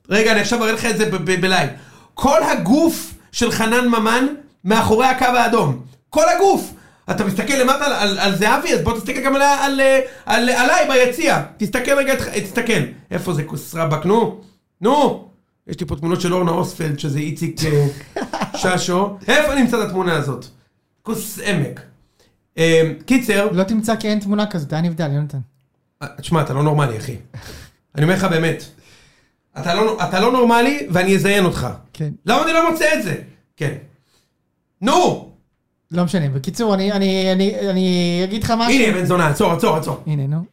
רגע, אני עכשיו אראה לך את זה ב- ב- בלייב. כל הגוף של חנן ממן מאחורי הקו האדום. כל הגוף. אתה מסתכל למטה על, על, על זהבי, אז בוא תסתכל גם על, ה- על, אה, על, עליי ביציע. תסתכל רגע, את- תסתכל. איפה זה כוסרבק? נו, נו. יש לי פה תמונות של אורנה אוספלד, שזה איציק אה, ששו. איפה נמצאת התמונה הזאת? כוס עמק. אה, קיצר,
לא תמצא כי אין תמונה כזאת, היה נבדל, יונתן.
אה, תשמע, אתה לא נורמלי, אחי. אני אומר לך באמת. אתה לא, אתה לא נורמלי, ואני אזיין אותך.
כן.
למה אני לא מוצא את זה? כן. נו!
לא משנה, בקיצור, אני, אני, אני, אני אגיד לך משהו.
הנה, בן זונה, עצור, עצור, עצור.
הנה, נו.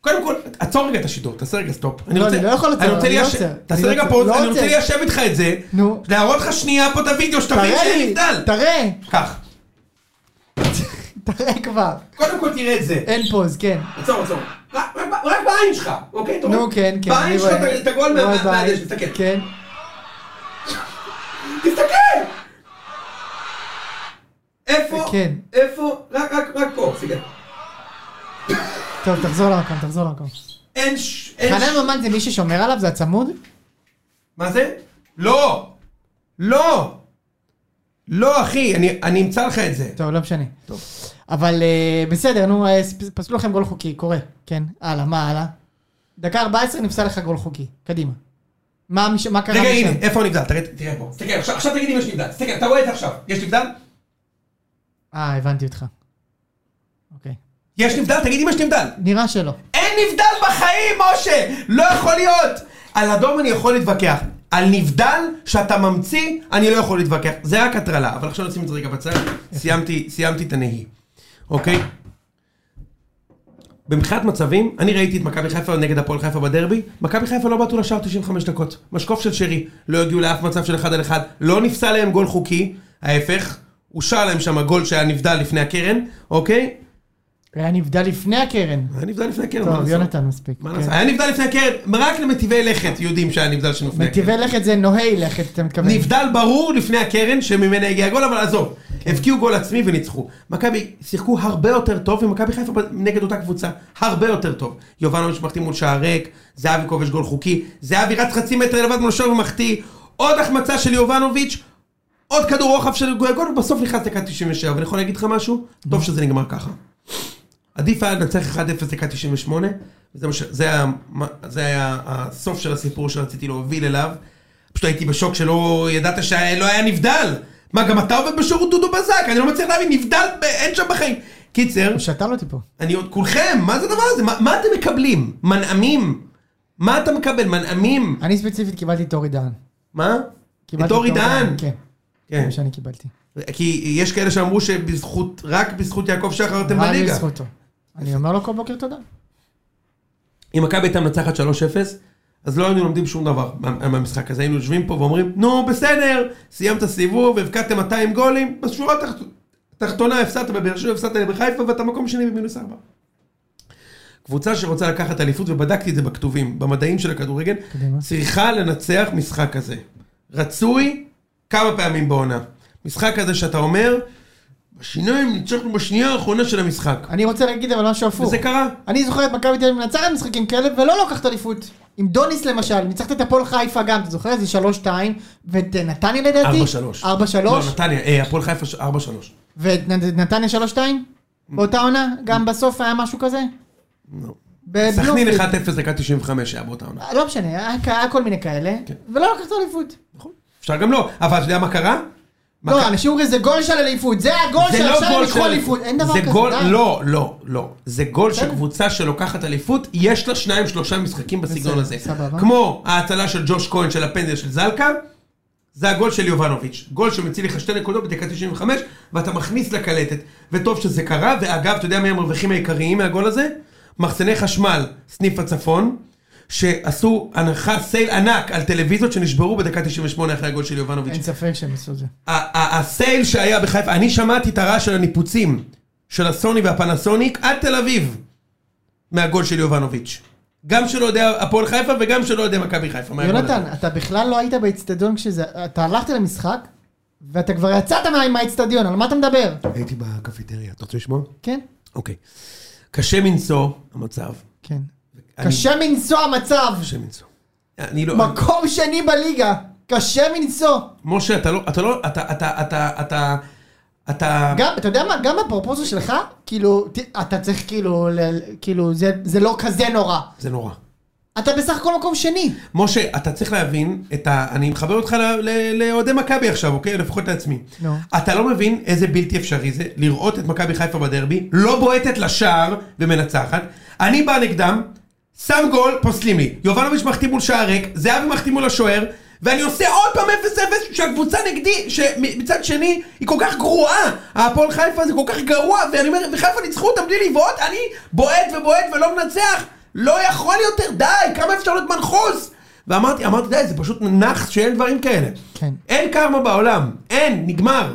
קודם כל, עצור רגע את השידור, תעשה רגע סטופ.
לא, אני לא יכול לעצור,
אני רוצה
אני לא
ליישב-
עוצר. אני
תעשה
לא
רגע
עוצר,
פוז,
לא
אני רוצה
עוצר.
ליישב איתך את זה.
נו.
להראות לך שנייה פה את הוידאו, שתבין
תראה
שאני
לי,
נבדל.
תראה,
כך.
תראה כבר.
קודם כל תראה את זה.
אין פוז, כן.
עצור, עצור. רק רק ב- רק בעין שלך, אוקיי? אתה
נו,
רואה?
כן, כן. אני
בעין שלך
רואה.
את הגול
רואה
מה- מה-
בעין.
מהדשא, תסתכל.
כן.
תסתכל! איפה?
כן.
איפה? רק, רק, רק פה, סיגל.
טוב, תחזור למקום, תחזור למקום.
אין ש... אין ש...
חנן ממן זה מי ששומר עליו? זה הצמוד?
מה זה? לא! לא! לא, אחי, אני, אני אמצא לך את זה.
טוב, לא משנה. טוב. אבל אה, בסדר, נו, אה, ס- פסלו לכם גול חוקי, קורה. כן, הלאה, מה הלאה? דקה 14 נפסל לך גול חוקי, קדימה. מה מש- מה קרה משם?
רגע, הנה, איפה הוא נבדל? תראה, תראה פה. תסתכל, עכשיו, עכשיו תגיד אם יש נבדל. תסתכל, אתה רואה את זה עכשיו. יש נבדל?
אה, הבנתי אותך. אוקיי.
יש נבדל? תגיד אם יש נבדל.
נראה שלא.
אין נבדל בחיים, משה! לא יכול להיות! על אדום אני יכול להתווכח. על נבדל שאתה ממציא, אני לא יכול להתווכח. זה רק הטרלה, אבל עכשיו נשים את זה רגע בצד. סיימתי, סיימתי את הנהי. אוקיי? במבחינת מצבים, אני ראיתי את מכבי חיפה נגד הפועל חיפה בדרבי, מכבי חיפה לא בעטו לשער 95 דקות. משקוף של שרי, לא הגיעו לאף מצב של אחד על אחד, לא נפסל להם גול חוקי, ההפך, אושר להם שם גול שהיה נבדל לפני הקרן, אוקיי?
היה נבדל לפני הקרן.
היה נבדל לפני הקרן. מה
טוב,
לעשות?
יונתן מספיק.
מה
כן.
נעשה? היה נבדל לפני הקרן, רק למטיבי לכת יודעים שהיה נבדל של לפני הקרן.
מטיבי לכת זה נוהי לכת, אתה מתכוון.
נבדל ברור לפני הקרן שממנה הגיע הגול, אבל עזוב, הבקיעו גול עצמי וניצחו. מכבי שיחקו הרבה יותר טוב, ומכבי חיפה נגד אותה קבוצה, הרבה יותר טוב. יובנוביץ' מחטיא מול שער ריק, זהבי כובש גול חוקי, זהבי רץ חצי מטר לבד מול השוער ומחטיא, עוד החמצה של יובנוביץ', עוד כדור רוחב של גול, גול, ובסוף נכנס דקה 97. ואני יכול להגיד לך משהו? טוב שזה נגמר ככה. עדיף היה לנצח 1-0 דקה 98, וזה מה ש- זה היה, מה- זה היה הסוף של הסיפור שרציתי להוביל אליו. פשוט הייתי בשוק שלא ידעת שלא היה נבדל. מה, גם אתה עובד בשירות דודו בזק? אני לא מצליח להבין, נבדל, ב- אין שם בחיים. קיצר,
הוא שתל אותי פה.
אני עוד, כולכם, מה זה הדבר הזה? מה, מה אתם מקבלים? מנעמים? מה אתה מקבל? מנעמים?
אני ספציפית קיבלתי את אורי דהן.
מה?
קיבלתי
את אורי דהן?
כן, זה
כן.
מה שאני קיבלתי.
כי יש כאלה שאמרו שבזכות, רק בזכות יעקב שחר אתם
רק
בליגה.
בזכותו. אני אומר לו כל בוקר תודה.
אם מכבי הייתה מנצחת 3-0, אז לא היינו לומדים שום דבר מה- מהמשחק הזה. היינו יושבים פה ואומרים, נו בסדר, סיימת סיבוב, הבקעתם 200 גולים, בשורה התחת- התחתונה הפסדת בבאר שבע, הפסדת בחיפה, ואתה מקום שני במינוס 4. קבוצה שרוצה לקחת אליפות, ובדקתי את זה בכתובים, במדעים של הכדורגל,
קדימה.
צריכה לנצח משחק כזה. רצוי כמה פעמים בעונה. משחק כזה שאתה אומר, בשיניים ניצחנו בשנייה האחרונה של המשחק.
אני רוצה להגיד אבל משהו הפוך.
וזה קרה.
אני זוכר את מכבי תל אביב מנצחת משחקים כאלה ולא לוקחת אליפות. עם דוניס למשל, ניצחת את הפועל חיפה גם, אתה זוכר? זה 3-2, ואת נתניה לדעתי?
4-3.
4-3.
לא, נתניה, אה, הפועל חיפה ש- 4-3.
ואת נ- נתניה 3-2? באותה עונה? גם בסוף היה משהו כזה?
לא.
בבלומפילד.
סכנין 1-0 דקה 95 היה באותה עונה.
לא משנה, היה כ- היה כל מיני כאלה,
כן.
ולא לקחת אליפות.
נכון. אפשר גם לא, אבל אתה יודע מה קרה? מה
לא,
קרה?
אנשים אומרים זה גול של אליפות, זה הגול
זה
של
לא
עכשיו
גול של
לקחו אליפות, אין דבר
זה
כזה,
גול,
די.
לא, לא, לא. זה גול
בסדר.
שקבוצה שלוקחת אליפות, יש לה שניים שלושה משחקים בסגנון
בסדר,
הזה.
סבבה.
כמו ההצלה של ג'וש כהן של הפנדל של זלקה, זה הגול של יובנוביץ'. גול שמציל לך שתי נקודות בדקה 95, ואתה מכניס לקלטת. וטוב שזה קרה, ואגב, אתה יודע מי המרווחים העיקריים מהגול הזה? מחסני חשמל, סניף הצפון. שעשו הנחה סייל ענק על טלוויזיות שנשברו בדקה 98 אחרי הגול של יובנוביץ'.
אין ספק שהם עשו את זה.
ה- ה- הסייל שהיה בחיפה, אני שמעתי את הרעש של הניפוצים של הסוני והפנסוניק עד תל אביב מהגול של יובנוביץ'. גם שלא יודע הפועל חיפה וגם שלא יודע מכבי חיפה. מה יכול
יונתן,
לדעת?
אתה בכלל לא היית באצטדיון כשזה... אתה הלכת למשחק, ואתה כבר יצאת מה- מהאצטדיון, על מה אתה מדבר?
הייתי בקפיטריה, אתה רוצה לשמוע?
כן?
אוקיי. קשה מנשוא המצב.
כן.
אני-
קשה מנשוא המצב!
קשה מנשוא. אני לא...
מקום שני בליגה! קשה מנשוא!
משה, אתה לא... אתה לא... אתה... אתה... אתה... אתה... אתה...
גם, אתה יודע מה, גם הפרופוזו שלך, כאילו, ת- אתה צריך כאילו, ל- כאילו, זה, זה לא כזה נורא.
זה נורא.
אתה בסך הכל מקום שני.
משה, אתה צריך להבין את ה... אני מחבר אותך ל- ל- לאוהדי מכבי עכשיו, אוקיי? לפחות לעצמי.
נו.
אתה לא מבין איזה בלתי אפשרי זה לראות את מכבי חיפה בדרבי, לא בועטת לשער ומנצחת. אני בא נגדם, שם גול, פוסלים לי. יובנוביץ' מחטיא מול שער ריק, זהבי מחטיא מול השוער, ואני עושה עוד פעם 0-0 שהקבוצה נגדי, שמצד שני היא כל כך גרועה. הפועל חיפה זה כל כך גרוע, ואני אומר, וחיפה ניצחו אותם בלי לבעוט, אני בועט ובועט ולא מנצח. לא יכול יותר, די, כמה אפשר להיות מנחוס? ואמרתי, אמרתי, די, זה פשוט נאחס שאין דברים כאלה.
כן.
אין קרמה בעולם, אין, נגמר.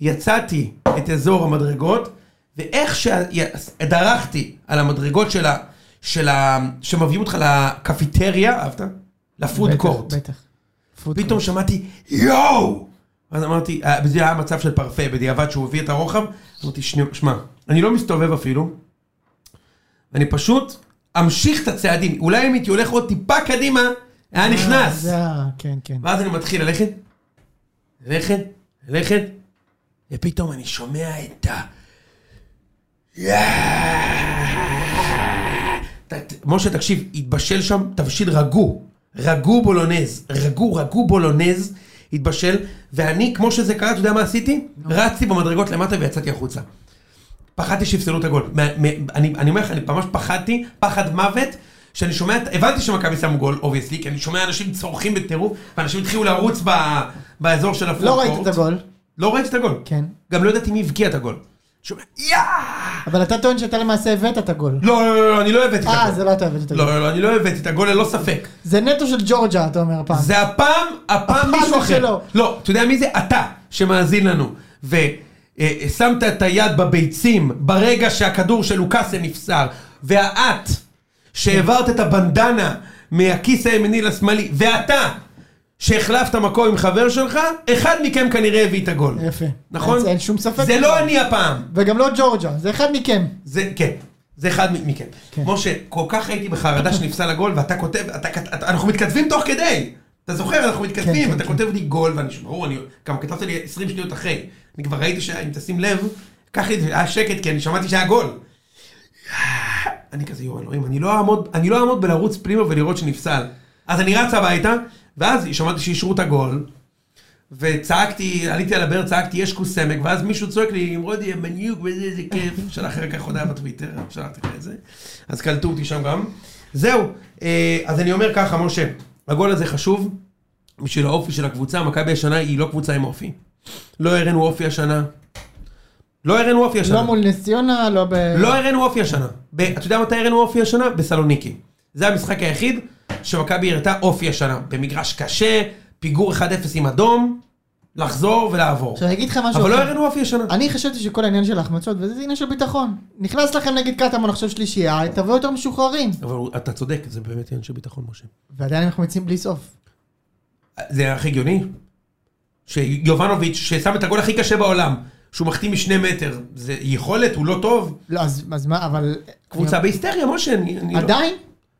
יצאתי את אזור המדרגות, ואיך שדרכתי על המדרגות של ה... של ה... שמביאים אותך לקפיטריה, אהבת? לפוד
בטח,
קורט.
בטח. פוד
פתאום שמעתי, יואו! אז אמרתי, אה, זה היה מצב של פרפה, בדיעבד שהוא הביא את הרוחב, אמרתי, שני- שמע, אני לא מסתובב אפילו, אני פשוט אמשיך את הצעדים, אולי אם הייתי הולך עוד טיפה קדימה, היה
אה,
נכנס.
זה ה- כן, כן.
ואז אני מתחיל ללכת, ללכת, ללכת, ופתאום אני שומע את ה... ת- ת- משה, תקשיב, התבשל שם תבשיל רגו. רגו בולונז. רגו, רגו בולונז, התבשל, ואני, כמו שזה קרה, אתה יודע מה עשיתי? רצתי במדרגות למטה ויצאתי החוצה. פחדתי שיפסלו את הגול. מה- מה- אני אני אומר לך, אני ממש פחדתי, פחד מוות, שאני שומע, את- הבנתי שמכבי שמו גול, אובייסלי, כי אני שומע אנשים צורכים בטירוף, ואנשים התחילו לרוץ ב- באזור של הפורקורט.
לא ראית את הגול,
לא ראיתי את הגול.
כן.
גם לא ידעתי מי הבקיע את הגול. שומע, יאה!
אבל אתה טוען שאתה למעשה הבאת את הגול.
לא, לא, לא, לא, אני לא הבאתי את
אה,
הגול.
זה לא אתה הבאת את הגול.
לא, לא, לא, אני לא הבאתי את הגול ללא ספק.
זה נטו של ג'ורג'ה, אתה אומר הפעם.
זה הפעם, הפעם
הפעם
מישהו
זה
אחר.
שלו.
לא, אתה יודע מי זה? אתה, שמאזין לנו. ושמת את היד בביצים ברגע שהכדור של לוקאסם נפסל, והאת, שהעברת את הבנדנה מהכיס הימני לשמאלי, ואתה, שהחלפת מקום עם חבר שלך, אחד מכם כנראה הביא את הגול.
יפה.
נכון?
אין- אין שום ספק.
זה לא אני הפעם.
וגם לא ג'ורג'ה, זה אחד מכם.
זה, כן. זה אחד מ- מכם.
כן.
משה, כל כך הייתי בחרדה שנפסל הגול, ואתה כותב, אתה, כת- אתה, אנחנו מתכתבים תוך כדי. אתה זוכר, אנחנו מתכתבים,
כן,
ואתה
כן.
כותב לי גול, ואני ש- ברור, אני, גם כתבת לי 20 שניות אחרי. אני כבר ראיתי שאם תשים לב, קח לי את זה, היה שקט, כי אני שמעתי שהיה גול. אני כזה, יואו, אלוהים, אני לא אעמוד, אני לא אעמוד בלרוץ פנימה ולראות שנפסל. אז אני רץ הביתה, ואז שמעתי שאישרו את הגול, וצעקתי, עליתי על הבאר, צעקתי, יש כוס סמק, ואז מישהו צועק לי, רודי, מניוק, וזה, איזה כיף. *laughs* שלח אחר כך הודעה בטוויטר, שלחתי לך את זה. אז קלטו אותי שם גם. זהו, אה, אז אני אומר ככה, משה, הגול הזה חשוב בשביל האופי של הקבוצה. מכבי השנה היא לא קבוצה עם אופי. לא הראינו אופי השנה. לא הראינו אופי השנה.
לא מול נס ציונה, לא ב...
לא הראינו אופי השנה. ב- אתה יודע מתי הראינו אופי השנה? בסלוניקי. זה המשחק היחיד שמכבי הראתה אופי השנה. במגרש קשה, פיגור 1-0 עם אדום, לחזור ולעבור.
עכשיו אני אגיד לך משהו.
אבל לא
אחר.
הראינו אופי השנה.
אני חשבתי שכל העניין של ההחמצות, וזה זה עניין של ביטחון. נכנס לכם נגד קטמון עכשיו שלישייה, תבואו יותר משוחררים.
אבל הוא- אתה צודק, זה באמת עניין של ביטחון, משה.
ועדיין אנחנו יוצאים בלי סוף.
זה הכי הגיוני? שיובנוביץ', ששם את הגול הכי קשה בעולם, שהוא מחטיא משני מטר, זה יכולת, הוא לא טוב?
לא, אז, אז מה, אבל...
קבוצה בהיסטריה, משה. אני- אני
אני...
לא-
עדיין?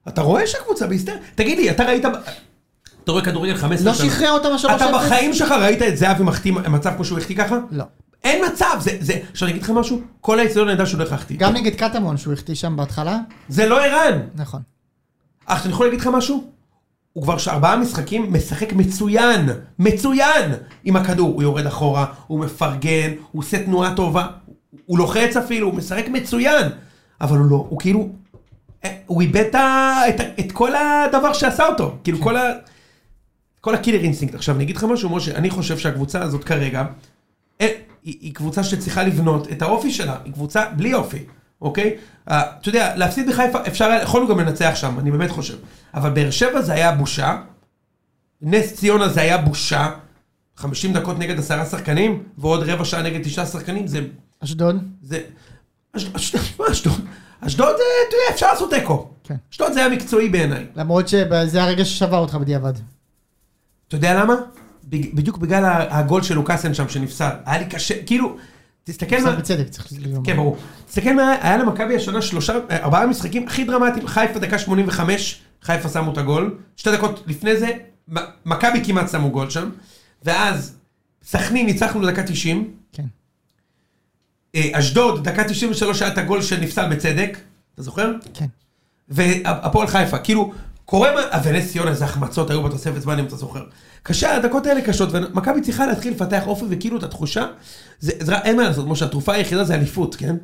אתה רואה שהקבוצה בהיסטריה? תגיד לי, אתה ראית... ב- אתה רואה כדורגל 15
לא שחרר אותם השלוש
אתה
אפס?
בחיים שלך ראית את זהבי מחטיא מצב כמו שהוא החטיא ככה?
לא.
אין מצב, זה, זה, עכשיו אני אגיד לך משהו, כל האצטדיון ידע שהוא הולך להחטיא.
גם נגד קטמון שהוא החטיא שם בהתחלה?
זה לא ערן.
נכון.
אך אני יכול להגיד לך משהו? הוא כבר ארבעה משחקים משחק מצוין, מצוין עם הכדור. הוא יורד אחורה, הוא מפרגן, הוא עושה תנועה טובה, הוא לוחץ אפילו, הוא משחק מצוין. אבל הוא לא, הוא כאילו, אה, הוא איבד את, ה- את, ה- את כל הדבר שעשה אותו. כאילו כל ה... כל הקילר אינסטינקט. עכשיו אני אגיד לך משהו, משה, אני חושב שהקבוצה הזאת כרגע, אה, היא, היא קבוצה שצריכה לבנות את האופי שלה, היא קבוצה בלי אופי, אוקיי? אה, אתה יודע, להפסיד בחיפה, אפשר, היה- יכולנו גם לנצח שם, אני באמת חושב. אבל באר שבע זה היה בושה, נס ציונה זה היה בושה, 50 דקות נגד עשרה שחקנים, ועוד רבע שעה נגד תשעה שחקנים, זה...
אשדוד?
זה... אש- אש- מה אשדוד? אשדוד, אה, אתה יודע, אפשר לעשות תיקו.
כן.
אשדוד זה היה מקצועי בעיניי.
למרות שזה הרגע ששבר אותך בדיעבד.
אתה יודע למה? בג- בדיוק בגלל ה- הגול של לוקאסן שם שנפסל. היה לי קשה, כאילו, תסתכל
קצת
מה...
בצדק, צריך לומר.
כן, ברור. תסתכל מה היה, היה למכבי השנה שלושה, אה, ארבעה משחקים הכי דרמטיים, חיפה דקה 85, חיפה שמו את הגול, שתי דקות לפני זה, מ- מכבי כמעט שמו גול שם, ואז סכנין ניצחנו לדקה 90,
כן.
אה, אשדוד דקה 93 היה את הגול שנפסל בצדק, אתה זוכר?
כן.
והפועל חיפה, כאילו, קורה מה, ונס ציונה זה החמצות היו בתוספת זמן אם אתה זוכר. קשה, הדקות האלה קשות, ומכבי צריכה להתחיל לפתח אופי וכאילו את התחושה, זה, זה, אין מה לעשות, משה, התרופה היחידה זה אליפות, כן?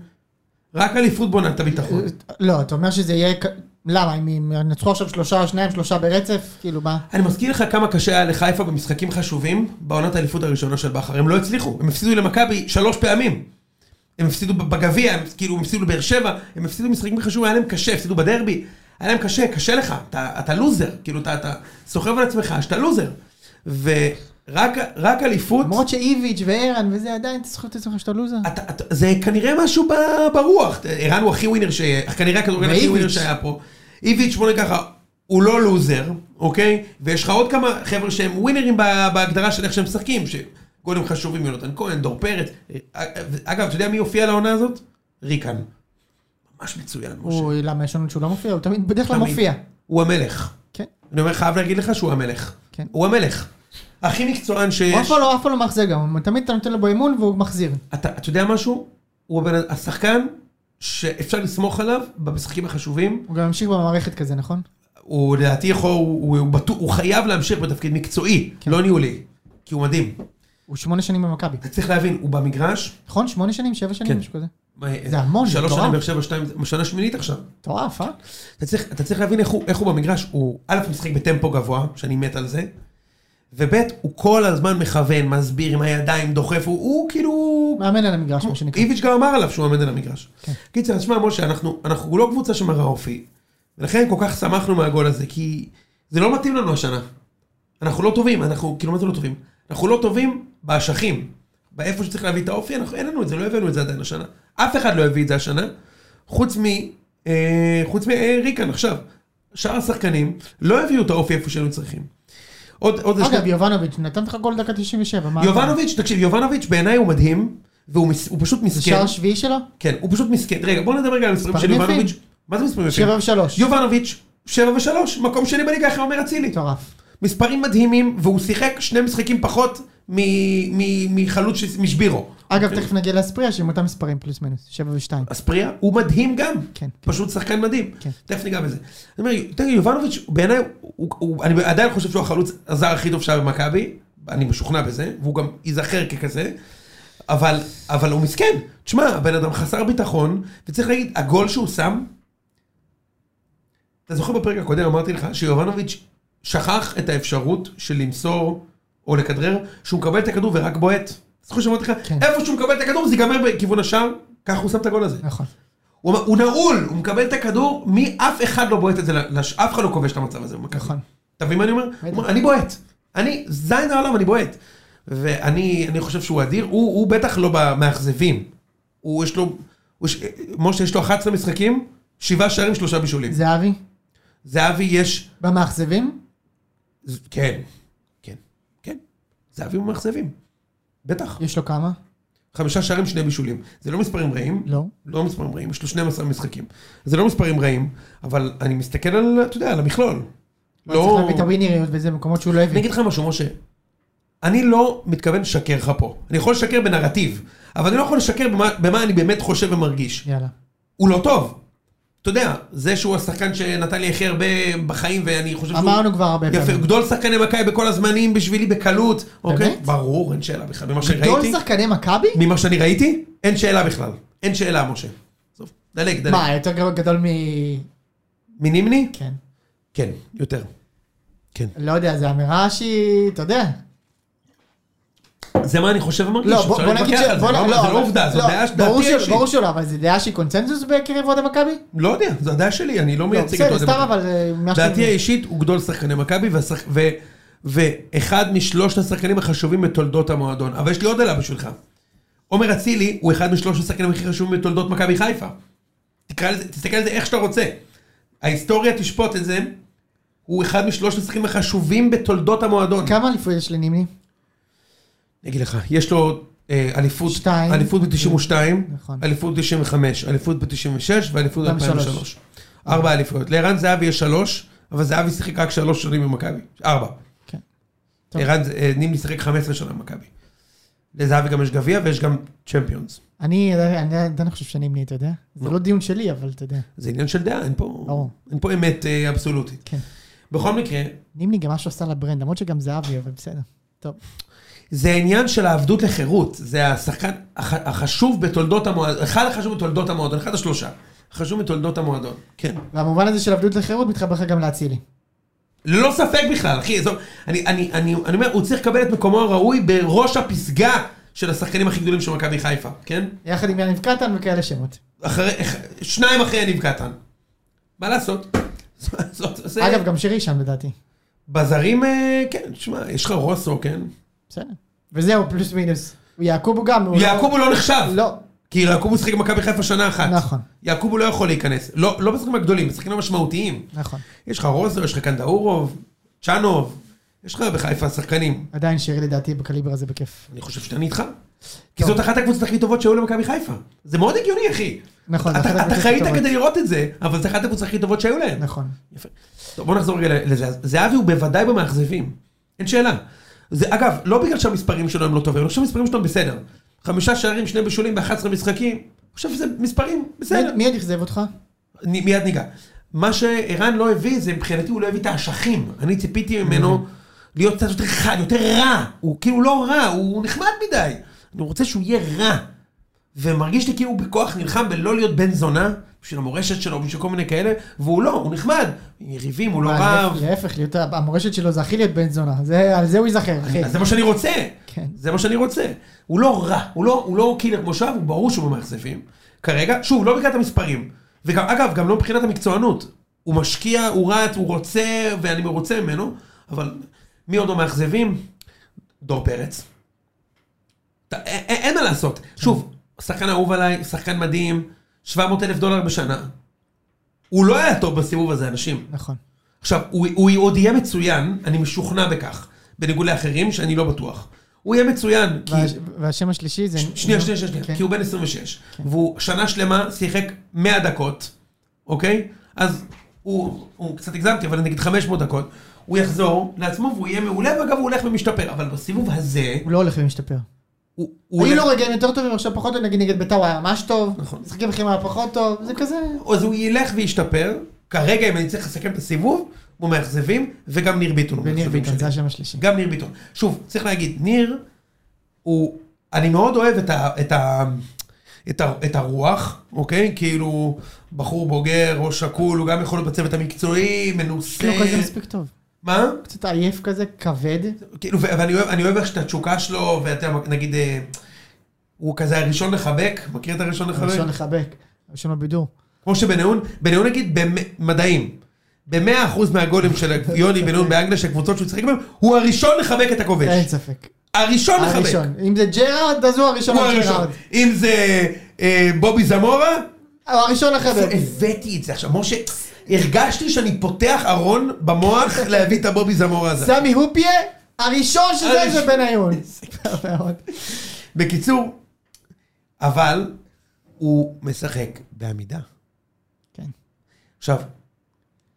רק אליפות בונה את הביטחון.
לא, אתה אומר שזה יהיה... כ- למה, אם אם ינצחו עכשיו שלושה, שניים, שלושה ברצף? כאילו, מה?
אני מזכיר לך כמה קשה היה לחיפה במשחקים חשובים בעונת האליפות הראשונה של בכר, הם לא הצליחו, הם הפסידו למכבי שלוש פעמים. הם הפסידו בגביע, הם כאילו הם הפסידו לבאר שבע, הם הפסידו משחקים חשובים, היה להם קשה, הפסידו בדרבי, היה להם קשה, קשה לך, אתה, אתה לוזר, כאילו אתה, אתה סוחב על עצמך שאתה לוזר. ורק רק אליפות,
למרות שאיביץ' וערן וזה, עדיין אתה זוכר את עצמך שאתה לוזר.
אתה, אתה, זה כנראה משהו ב, ברוח, ערן הוא הכי ווינר, ש... כנראה הכדורגל הכי
ואיביץ'.
ווינר שהיה פה. איביץ' בוא נגיד ככה, הוא לא לוזר, אוקיי? ויש לך עוד כמה חבר'ה שהם ווינרים ב- בהגדרה של איך שהם משחקים, שגולים חשובים, יונתן כהן, דור פרץ. אגב, אתה יודע מי הופיע לעונה הזאת? ריקן. ממש מצוין, משה.
הוא, למה, יש לנו שהוא לא מופיע? הוא תמיד, בדרך כלל
תמיד.
מופיע.
הוא המלך.
כן.
אני אומר, חייב להגיד לך שהוא המלך.
כן.
הוא המלך. הכי מקצוען
הוא
שיש.
אף פעם לא- אף פעם לא מחזיר גם, הוא תמיד אתה נותן לו בו אמון והוא מחזיר.
אתה, אתה יודע משהו? הוא הבן- השחקן שאפשר לסמוך עליו במשחקים החשובים.
הוא גם ממשיך במערכת כזה, נכון?
הוא לדעתי יכול, הוא, הוא, הוא, בטוח- הוא חייב להמשיך בתפקיד מקצועי,
כן.
כן. לא ניהולי, כי הוא מדהים.
הוא שמונה שנים במכבי.
אתה צריך להבין, הוא במגרש,
נכון? שמונה שנים? שבע שנים?
כן.
משהו כזה.
אה,
המון, זה
שלוש
מטורף.
שנים, באר שבע, שתיים, שנה שמינית עכשיו.
מטורף, אה?
אתה צריך, אתה צריך להבין איך הוא, איך הוא במגרש, הוא א', הוא משחק בטמפו גבוה, שאני מת על זה, וב', הוא כל הזמן מכוון, מסביר עם הידיים, דוחף, הוא, הוא כאילו...
מאמן על המגרש, מה שנקרא.
איביץ' גם אמר עליו שהוא עומד על המגרש.
כן.
קיצר, תשמע, משה, אנחנו, אנחנו לא קבוצה שמראה אופי, ולכן כל כך שמחנו מהגול הזה, כי זה לא מתאים לנו השנה. אנחנו לא טובים, אנחנו, כאילו, מה זה לא טובים? אנחנו לא טובים באשכים. באיפה שצריך להביא את האופי, אנחנו, אין לנו את זה, לא הבאנו את זה עדיין השנה. אף אחד לא הביא את זה השנה, חוץ מ... אה, חוץ מריקן עכשיו. שאר השחקנים לא הביאו את האופי איפה שהיו צריכים. עוד, עוד שני-
אגב, יובנוביץ', נתן לך גול דקה 97, אוקיי. מה?
יובנוביץ', תקשיב, יובנוביץ' בעיניי הוא מדהים, והוא מס, הוא פשוט
זה
מסכן.
שער שביעי שלו?
כן, הוא פשוט מסכן. רגע, בוא נדבר רגע על המספרים של
מספרים
יובנוביץ'.
יפים.
מה זה מספרים יפים?
שבע ושלוש.
יובנוביץ', שבע ושלוש, מקום שני בליגה, איך אומר אצילי.
מטורף.
מספרים מדהימים, והוא שיחק שני משחקים פחות מ- מ- מחלוץ ש- משבירו.
אגב,
אוקיי.
תכף נגיע לאספריה, שעם אותם מספרים, פלוס מינוס. שבע ושתיים.
אספריה הוא מדהים גם.
כן.
פשוט שחקן מדהים.
כן.
תכף ניגע בזה. אני אומר, תגיד, יובנוביץ', בעיניי, הוא- הוא- אני עדיין חושב שהוא החלוץ הזר הכי טוב שהיה במכבי, אני משוכנע בזה, והוא גם ייזכר ככזה, אבל, אבל הוא מסכן. תשמע, הבן אדם חסר ביטחון, וצריך להגיד, הגול שהוא שם, אתה זוכר בפרק הקודם אמרתי לך שיובנוביץ' שכח את האפשרות של למסור או לכדרר, שהוא מקבל את הכדור ורק בועט. זוכר שאמרתי לך,
כן.
איפה שהוא מקבל את הכדור זה ייגמר בכיוון השער, ככה הוא שם את הגול הזה.
נכון.
הוא, הוא נעול, הוא מקבל את הכדור, מי אף אחד לא בועט את זה, לש, אף אחד לא כובש את המצב הזה. במכבי.
נכון.
אתה מבין מה אני אומר? הוא אומר, אני בועט. אני, זין העולם, אני בועט. ואני אני חושב שהוא אדיר, הוא, הוא בטח לא במאכזבים. הוא יש לו, הוא, יש- משה יש לו 11 משחקים, שבעה שערים, שלושה בישולים.
זהבי,
זהבי יש,
במאכזבים?
ז- כן, כן, כן, זהבי הוא מאכזבים. בטח.
יש לו כמה?
חמישה שערים, שני בישולים. זה לא מספרים רעים,
לא.
לא מספרים רעים, יש לו 12 משחקים. זה לא מספרים רעים, אבל אני מסתכל על, אתה יודע, על המכלול.
לא. צריך
לא...
להביא את הווינריות וזה, מקומות שהוא לא
אני
הביא.
אגיד לך משהו, משה. אני לא מתכוון לשקר לך פה. אני יכול לשקר בנרטיב, אבל אני לא יכול לשקר במה, במה אני באמת חושב ומרגיש.
יאללה.
הוא לא טוב. אתה יודע, זה שהוא השחקן שנתן לי הכי הרבה בחיים, ואני חושב שהוא...
אמרנו כבר הרבה
יפה,
פעמים.
גדול שחקני מכבי בכל הזמנים בשבילי בקלות. אוקיי?
באמת?
ברור, אין שאלה בכלל. ממה שראיתי...
גדול שחקני מכבי?
ממה שאני ראיתי, אין שאלה בכלל. אין שאלה, משה. עזוב, דלג, דלג.
מה, יותר גדול מ...
מנימני?
כן.
כן, יותר. כן.
לא יודע, זו אמירה שהיא, אתה יודע.
זה מה אני חושב ומרגיש.
לא, בוא-
אפשר
בוא נגיד ש...
להתווכח על זה,
בוא
לא,
נ-
אבל זה
אבל-
לא עובדה, זו
לא,
דעה ש-
ברור
דעתי
שלא-
אישית.
ברור שלא, אבל זו דעה שהיא קונצנזוס בקרב אוהדי מכבי?
לא יודע, זו הדעה שלי, אני לא
לא,
מייצג את
בסדר,
אוהדי
סתם
מכבי.
אבל... אה, מה שאתה
דעתי
מבין.
האישית הוא גדול שחקני מכבי, והשח- ו- ואחד משלושת השחקנים החשובים בתולדות המועדון. אבל יש לי עוד דעה בשבילך. עומר אצילי הוא אחד משלושת השחקנים הכי חשובים בתולדות מכבי חיפה. תקרא לזה, תסתכל על זה איך שאתה רוצה. ההיסטוריה תשפוט את זה, הוא אחד משלושת המשחקים החשובים בתולדות המועדון.
כמה אליפויות יש לנימני?
אני אגיד לך, יש לו אה, אליפות,
שתיים.
אליפות ב-92,
נכון.
אליפות ב-95, אליפות ב-96 ואליפות
גם
ב-2003.
שלוש.
ארבע אליפויות. לערן זהבי יש שלוש, אבל זהבי שיחק רק שלוש שנים במכבי. ארבע.
כן. טוב.
ערן, ז- אה, נימני שיחק 15 שנה במכבי. לזהבי גם יש גביע ויש גם צ'מפיונס.
אני אני עדיין חושב שנימני, אתה יודע? זה
נו.
לא דיון שלי, אבל אתה יודע.
זה עניין של דעה, אין פה,
ברור.
אין פה אמת אה, אבסולוטית.
כן.
בכל מקרה,
נימני גם משהו עשה לברנד, למרות שגם זהבי, אבל בסדר. טוב.
זה העניין של העבדות לחירות, זה השחקן הח- החשוב בתולדות המועדון, אחד החשוב בתולדות המועדון, אחד השלושה, החשוב בתולדות המועדון. כן.
והמובן הזה של עבדות לחירות מתחבר לך גם לאצילי.
ללא ספק בכלל, אחי, זו, אני, אני, אני, אני אומר, הוא צריך לקבל את מקומו הראוי בראש הפסגה של השחקנים הכי גדולים של מכבי חיפה, כן?
יחד עם יניב קטן וכאלה שמות.
אחרי, אח, שניים אחרי יניב קטן. מה לעשות? זו- זו- זה-
אגב, גם שירי שם לדעתי.
בזרים, אה, כן, תשמע, יש לך רוסו, כן?
בסדר. וזהו, פלוס מינוס. יעקובו גם, הוא לא-
יעקובו לא נחשב,
לא.
כי יעקובו שיחק במכבי חיפה שנה אחת.
נכון.
יעקובו לא יכול להיכנס, לא, לא בשחקנים הגדולים, בשחקנים המשמעותיים.
נכון.
יש לך רוזו, יש לך קנדאורוב, צ'אנוב, יש לך בחיפה שחקנים.
עדיין שירי לדעתי בקליבר הזה בכיף.
אני חושב שאני איתך. כי זאת אחת הקבוצות הכי טובות שהיו למכבי חיפה. זה מאוד הגיוני, אחי.
נכון,
אתה-
אחת
אתה
הקבוצות הכי
חיית
טובות.
כדי לראות את זה, אבל זו אחת הקבוצות הכי טובות שהיו להם.
נכון.
יפה. טוב, בוא נחזור רגע לזה. אז זהבי הוא בוודאי במאכזבים. אין שאלה. זה, אגב, לא בגלל שהמספרים שלו הם לא טובים, אני חושב שהמספרים שלו הם בסדר. חמישה שערים, שני בישולים ב-11 משחקים. אני חושב שזה מספרים, בסדר.
מי- מי עוד אכזב אותך?
אני מיד ניגע. מה שערן לא הביא, זה מבחינתי הוא לא הביא את האשכים. אני ציפיתי ממנו להיות קצת יותר חד, יותר רע. הוא כאילו לא רע, הוא נחמד מדי. אני רוצה שהוא יהיה רע. ומרגיש לי כאילו הוא בכוח נלחם בלא להיות בן זונה, בשביל המורשת שלו, בשביל כל מיני כאלה, והוא לא, הוא נחמד. עם יריבים, הוא לא
מה,
רב.
להפך, להיות- המורשת שלו זה הכי להיות בן זונה. זה- על זה הוא ייזכר, אחי.
אז זה מה שאני רוצה.
כן.
זה מה שאני רוצה. הוא לא רע, הוא לא, הוא לא קילר כמו שאב, הוא ברור שהוא במאכזבים. כרגע, שוב, לא מבחינת המספרים. וגם, אגב, גם לא מבחינת המקצוענות. הוא משקיע, הוא רץ, הוא רוצה, ואני מרוצה ממנו, אבל מי עוד המאכזבים? דור פרץ. אתה, א- א- אין מה לעשות. שוב, שחקן אהוב עליי, שחקן מדהים, 700 אלף דולר בשנה. הוא לא היה טוב בסיבוב הזה, אנשים.
נכון.
עכשיו, הוא, הוא עוד יהיה מצוין, אני משוכנע בכך, בניגוד לאחרים, שאני לא בטוח. הוא יהיה מצוין, כי...
והש- והשם השלישי זה...
שנייה, שנייה, שנייה, שנייה,
כן.
כי הוא בן 26, והוא שנה שלמה שיחק 100 דקות, אוקיי? אז הוא, הוא קצת הגזמתי, אבל נגיד 500 דקות, הוא יחזור לעצמו והוא יהיה מעולה, ואגב, הוא הולך ומשתפר, אבל בסיבוב הזה,
הוא לא הולך ומשתפר.
הוא... הוא
היו
הולך-
לו רגעים יותר טובים, עכשיו פחות טובים, נגיד נגד ביתר הוא היה ממש טוב,
נכון.
משחקים אחרים היה פחות טוב, זה כזה...
אז הוא ילך וישתפר, כרגע, אם אני צריך לסכם את הסיבוב, הוא מאכזבים, וגם ניר ביטון הוא
וניר
מאכזבים
ביטון,
שלי.
זה השם השלישי.
גם ניר ביטון. שוב, צריך להגיד, ניר, הוא, אני מאוד אוהב את, ה, את, ה, את, ה, את הרוח, אוקיי? כאילו, בחור בוגר, ראש שקול, הוא גם יכול להיות בצוות המקצועי, מנוסה.
לא כזה מספיק טוב.
מה?
קצת עייף כזה, כבד.
כאילו, ו- ואני אוהב, אני אוהב איך שאת התשוקה שלו, ואתה, יודע, נגיד, אה, הוא כזה הראשון לחבק, מכיר את הראשון לחבק?
ראשון לחבק, ראשון בבידור.
כמו שבניון, בניון נגיד במדעים. במאה אחוז מהגולים של יוני בניון באנגליה, שהקבוצות שהוא שיחק בהם, הוא הראשון לחבק את הכובש.
אין ספק.
הראשון לחבק.
כן, הראשון. אם זה ג'רארד, אז הוא הראשון
הוא
על
הראשון.
ג'רארד.
אם זה אה, בובי זמורה,
הוא הראשון לחבק.
הבאתי את זה עכשיו. משה, הרגשתי שאני פותח ארון במוח להביא את הבובי זמורה הזה.
סמי הופיה, הראשון שזה
הראשון.
זה בניון.
*laughs*
מאוד.
בקיצור, אבל הוא משחק בעמידה.
כן.
עכשיו,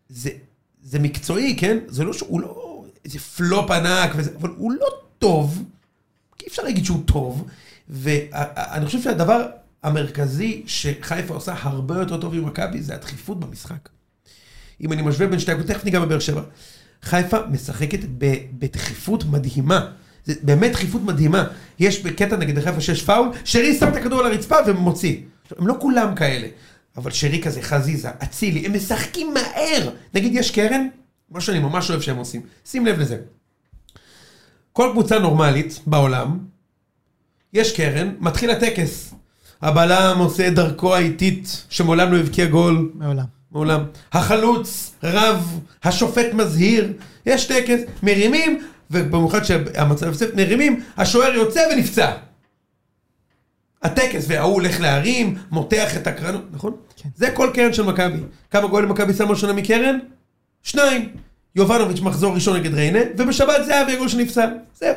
זה, זה מקצועי, כן? זה לא שהוא לא איזה פלופ ענק, וזה, אבל הוא לא טוב, כי אי אפשר להגיד שהוא טוב, ואני חושב שהדבר המרכזי שחיפה עושה הרבה יותר טוב ממכבי זה הדחיפות במשחק. אם אני משווה בין שתי הקבוצות, תכף ניגע בבאר שבע. חיפה משחקת ב- בדחיפות מדהימה. זה באמת דחיפות מדהימה. יש בקטע נגד חיפה שיש פאול, שרי שם את הכדור על הרצפה ומוציא. עכשיו, הם לא כולם כאלה, אבל שרי כזה, חזיזה, אצילי, הם משחקים מהר. נגיד יש קרן, מה שאני ממש אוהב שהם עושים. שים לב לזה. כל קבוצה נורמלית בעולם, יש קרן, מתחיל הטקס. הבלם עושה את דרכו האיטית, שמעולם לא הבקיע גול.
מעולם.
מעולם. החלוץ, רב, השופט מזהיר, יש טקס, מרימים, ובמיוחד שהמצב הפסק, מרימים, השוער יוצא ונפצע. הטקס, וההוא הולך להרים, מותח את הקרנות, נכון?
כן.
זה כל קרן של מכבי. כמה גולים מכבי שמה השנה מקרן? שניים. יובנוביץ' מחזור ראשון נגד ריינה, ובשבת זהבי הגול שנפסל. זהו.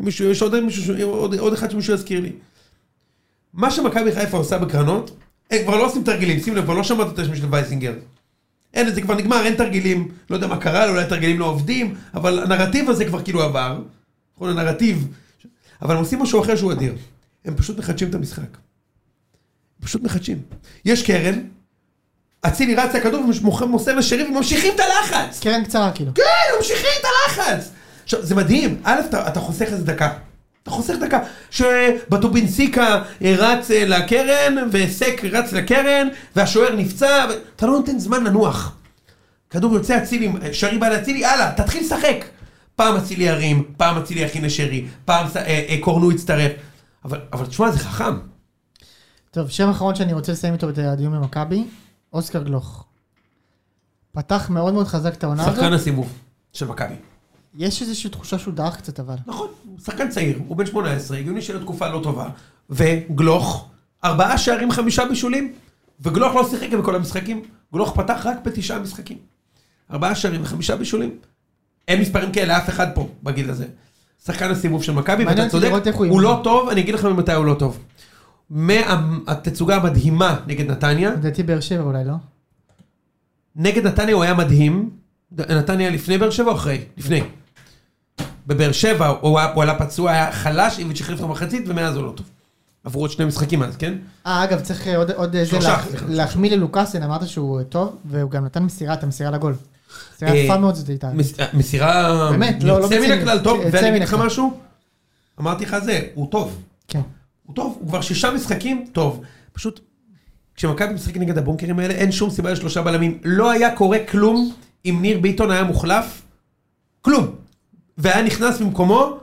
אם מישהו- יש עוד מישהו ש- עוד- עוד אחד שמישהו יזכיר לי. מה שמכבי חיפה עושה בקרנות, הם כבר לא עושים תרגילים, שים לב, כבר לא שמעת את השם של וייסינגר. אין, זה כבר נגמר, אין תרגילים, לא יודע מה קרה, אולי התרגילים לא עובדים, אבל הנרטיב הזה כבר כאילו עבר. נכון, הנרטיב. אבל הם עושים משהו אחר שהוא אדיר. הם פשוט מחדשים את המשחק. פשוט מחדשים. יש קרן, אצילי רץ לכדור ומוסר לשרי וממשיכים את הלחץ!
קרן קצרה כאילו.
כן, ממשיכים את הלחץ! עכשיו, זה מדהים. א', אתה, אתה חוסך איזה דקה. אתה חוסך דקה. שבטובינסיקה אה, רץ אה, לקרן, וסק רץ לקרן, והשוער נפצע, ו... אתה לא נותן זמן לנוח. כדור יוצא אצילי, שרי בא לאצילי, יאללה, תתחיל לשחק. פעם אצילי ירים, פעם אצילי יכין לשרי, פעם ס- אה, אה, קורנו יצטרף. אבל, אבל תשמע, זה חכם.
טוב, שם אחרון שאני רוצה לסיים איתו את הדיון במכבי, אוסקר גלוך. פתח מאוד מאוד חזק את העונה
שחקן
הזאת.
הסיבוב של מכבי.
יש איזושהי תחושה שהוא דעך קצת אבל.
נכון, הוא שחקן צעיר, הוא בן 18, הגיוני שלו תקופה לא טובה. וגלוך, ארבעה שערים, חמישה בישולים, וגלוך לא שיחק בכל המשחקים, גלוך פתח רק בתשעה משחקים. ארבעה שערים וחמישה בישולים. אין מספרים כאלה לאף אחד פה בגיל הזה. שחקן הסיבוב של מכבי,
מעניין
ואתה
אותי
צודק,
לראות איך הוא
הוא
ימשיך.
לא טוב, אני אגיד לך ממתי הוא לא טוב. מהתצוגה המדהימה נגד נתניה,
לדעתי באר שבע אולי, לא?
נגד נתניה הוא היה מדהים. נתניה לפני באר שבע או אחרי? לפני. בבאר שבע הוא היה- הוא עלה פצוע, היה חלש, איביץ' החליף אותו מחצית, ומאז הוא לא טוב. עברו עוד שני משחקים אז, כן?
אה, אגב, צריך אה, עוד, עוד איזה
שלושה,
לה,
סליחה.
להחמיא ללוקאסן, אמרת שהוא אה, טוב, והוא גם נתן מסירה, את המסירה לגול. מסירה
אה,
יפה מאוד זאת הייתה.
מס- אה, מסירה...
באמת, לא- לא
יוצא מן
בציניות.
הכלל טוב,
יוצא
ואני אגיד
מן
לך
הכלל.
משהו, אמרתי לך זה, הוא טוב.
כן.
הוא טוב, הוא כבר שישה משחקים, טוב. פשוט, כשמכבי משחק נגד הבונקרים האלה, אין שום סיבה לשלושה בלמים. לא היה קורה כלום אם ניר ביטון היה מוחלף. כלום. והיה נכנס במקומו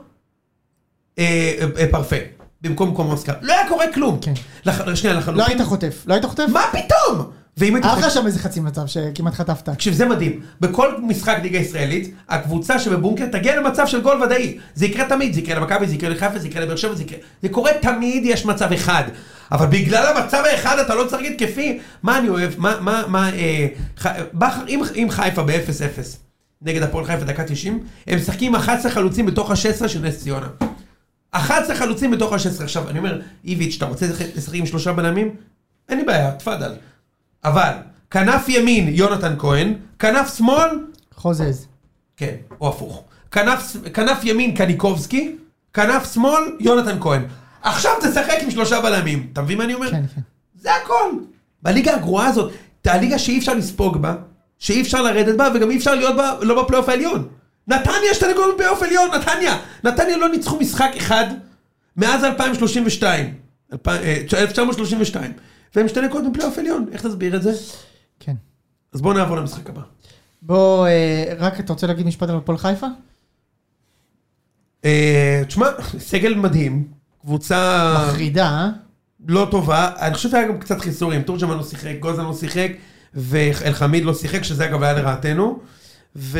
אה, אה, פרפה. במקום במקום אוסקר. לא היה קורה כלום.
כן.
לח... שנייה,
לא
לחלוטין.
היית חוטף, לא היית חוטף?
מה פתאום? ואם הייתי
היה
חושב...
לך שם איזה חצי מצב שכמעט חטפת.
תקשיב, זה מדהים. בכל משחק ליגה ישראלית, הקבוצה שבבונקר תגיע למצב של גול ודאי. זה יקרה תמיד, זה יקרה למכבי, זה יקרה לחיפה, זה יקרה לבאר שבע, זה יקרה... זה קורה תמיד, יש מצב אחד. אבל בגלל המצב האחד אתה לא צריך להתקפי. מה אני אוהב? מה... מה... מה... אה, ח... בכר, אם, אם חיפה ב-0-0 נגד הפועל חיפה דקה 90, הם משחקים 11 חלוצים בתוך ה-16 של נס ציונה. 11 חלוצים בתוך ה-16. עכשיו, אני אומר, איביץ', אתה רוצה לשחק עם שלושה בלמים? אין לי בעיה, תפאדל. אבל, כנף ימין, יונתן כהן, כנף שמאל,
חוזז.
כן, או הפוך. כנף, כנף ימין, קניקובסקי, כנף שמאל, יונתן כהן. עכשיו תשחק עם שלושה בלמים. אתה מבין מה אני אומר?
כן, כן.
זה הכל. בליגה הגרועה הזאת, את הליגה שאי אפשר לספוג בה, שאי אפשר לרדת בה, וגם אי אפשר להיות בה, לא בפלייאוף העליון. נתניה שתי נקודות בפלייאוף עליון, נתניה. נתניה לא ניצחו משחק אחד מאז 2032. אלפיים- אה, 1932. והם שתי נקודות בפלייאוף עליון. איך תסביר את זה?
כן.
אז בואו נעבור למשחק הבא.
בוא, אה, רק אתה רוצה להגיד משפט על הפועל חיפה?
אה, תשמע, סגל מדהים. קבוצה...
מחרידה, אה?
לא טובה, אני חושב שהיה גם קצת חיסורים, תורג'מן לא שיחק, גוזן לא שיחק, ואלחמיד לא שיחק, שזה אגב היה לרעתנו. ו...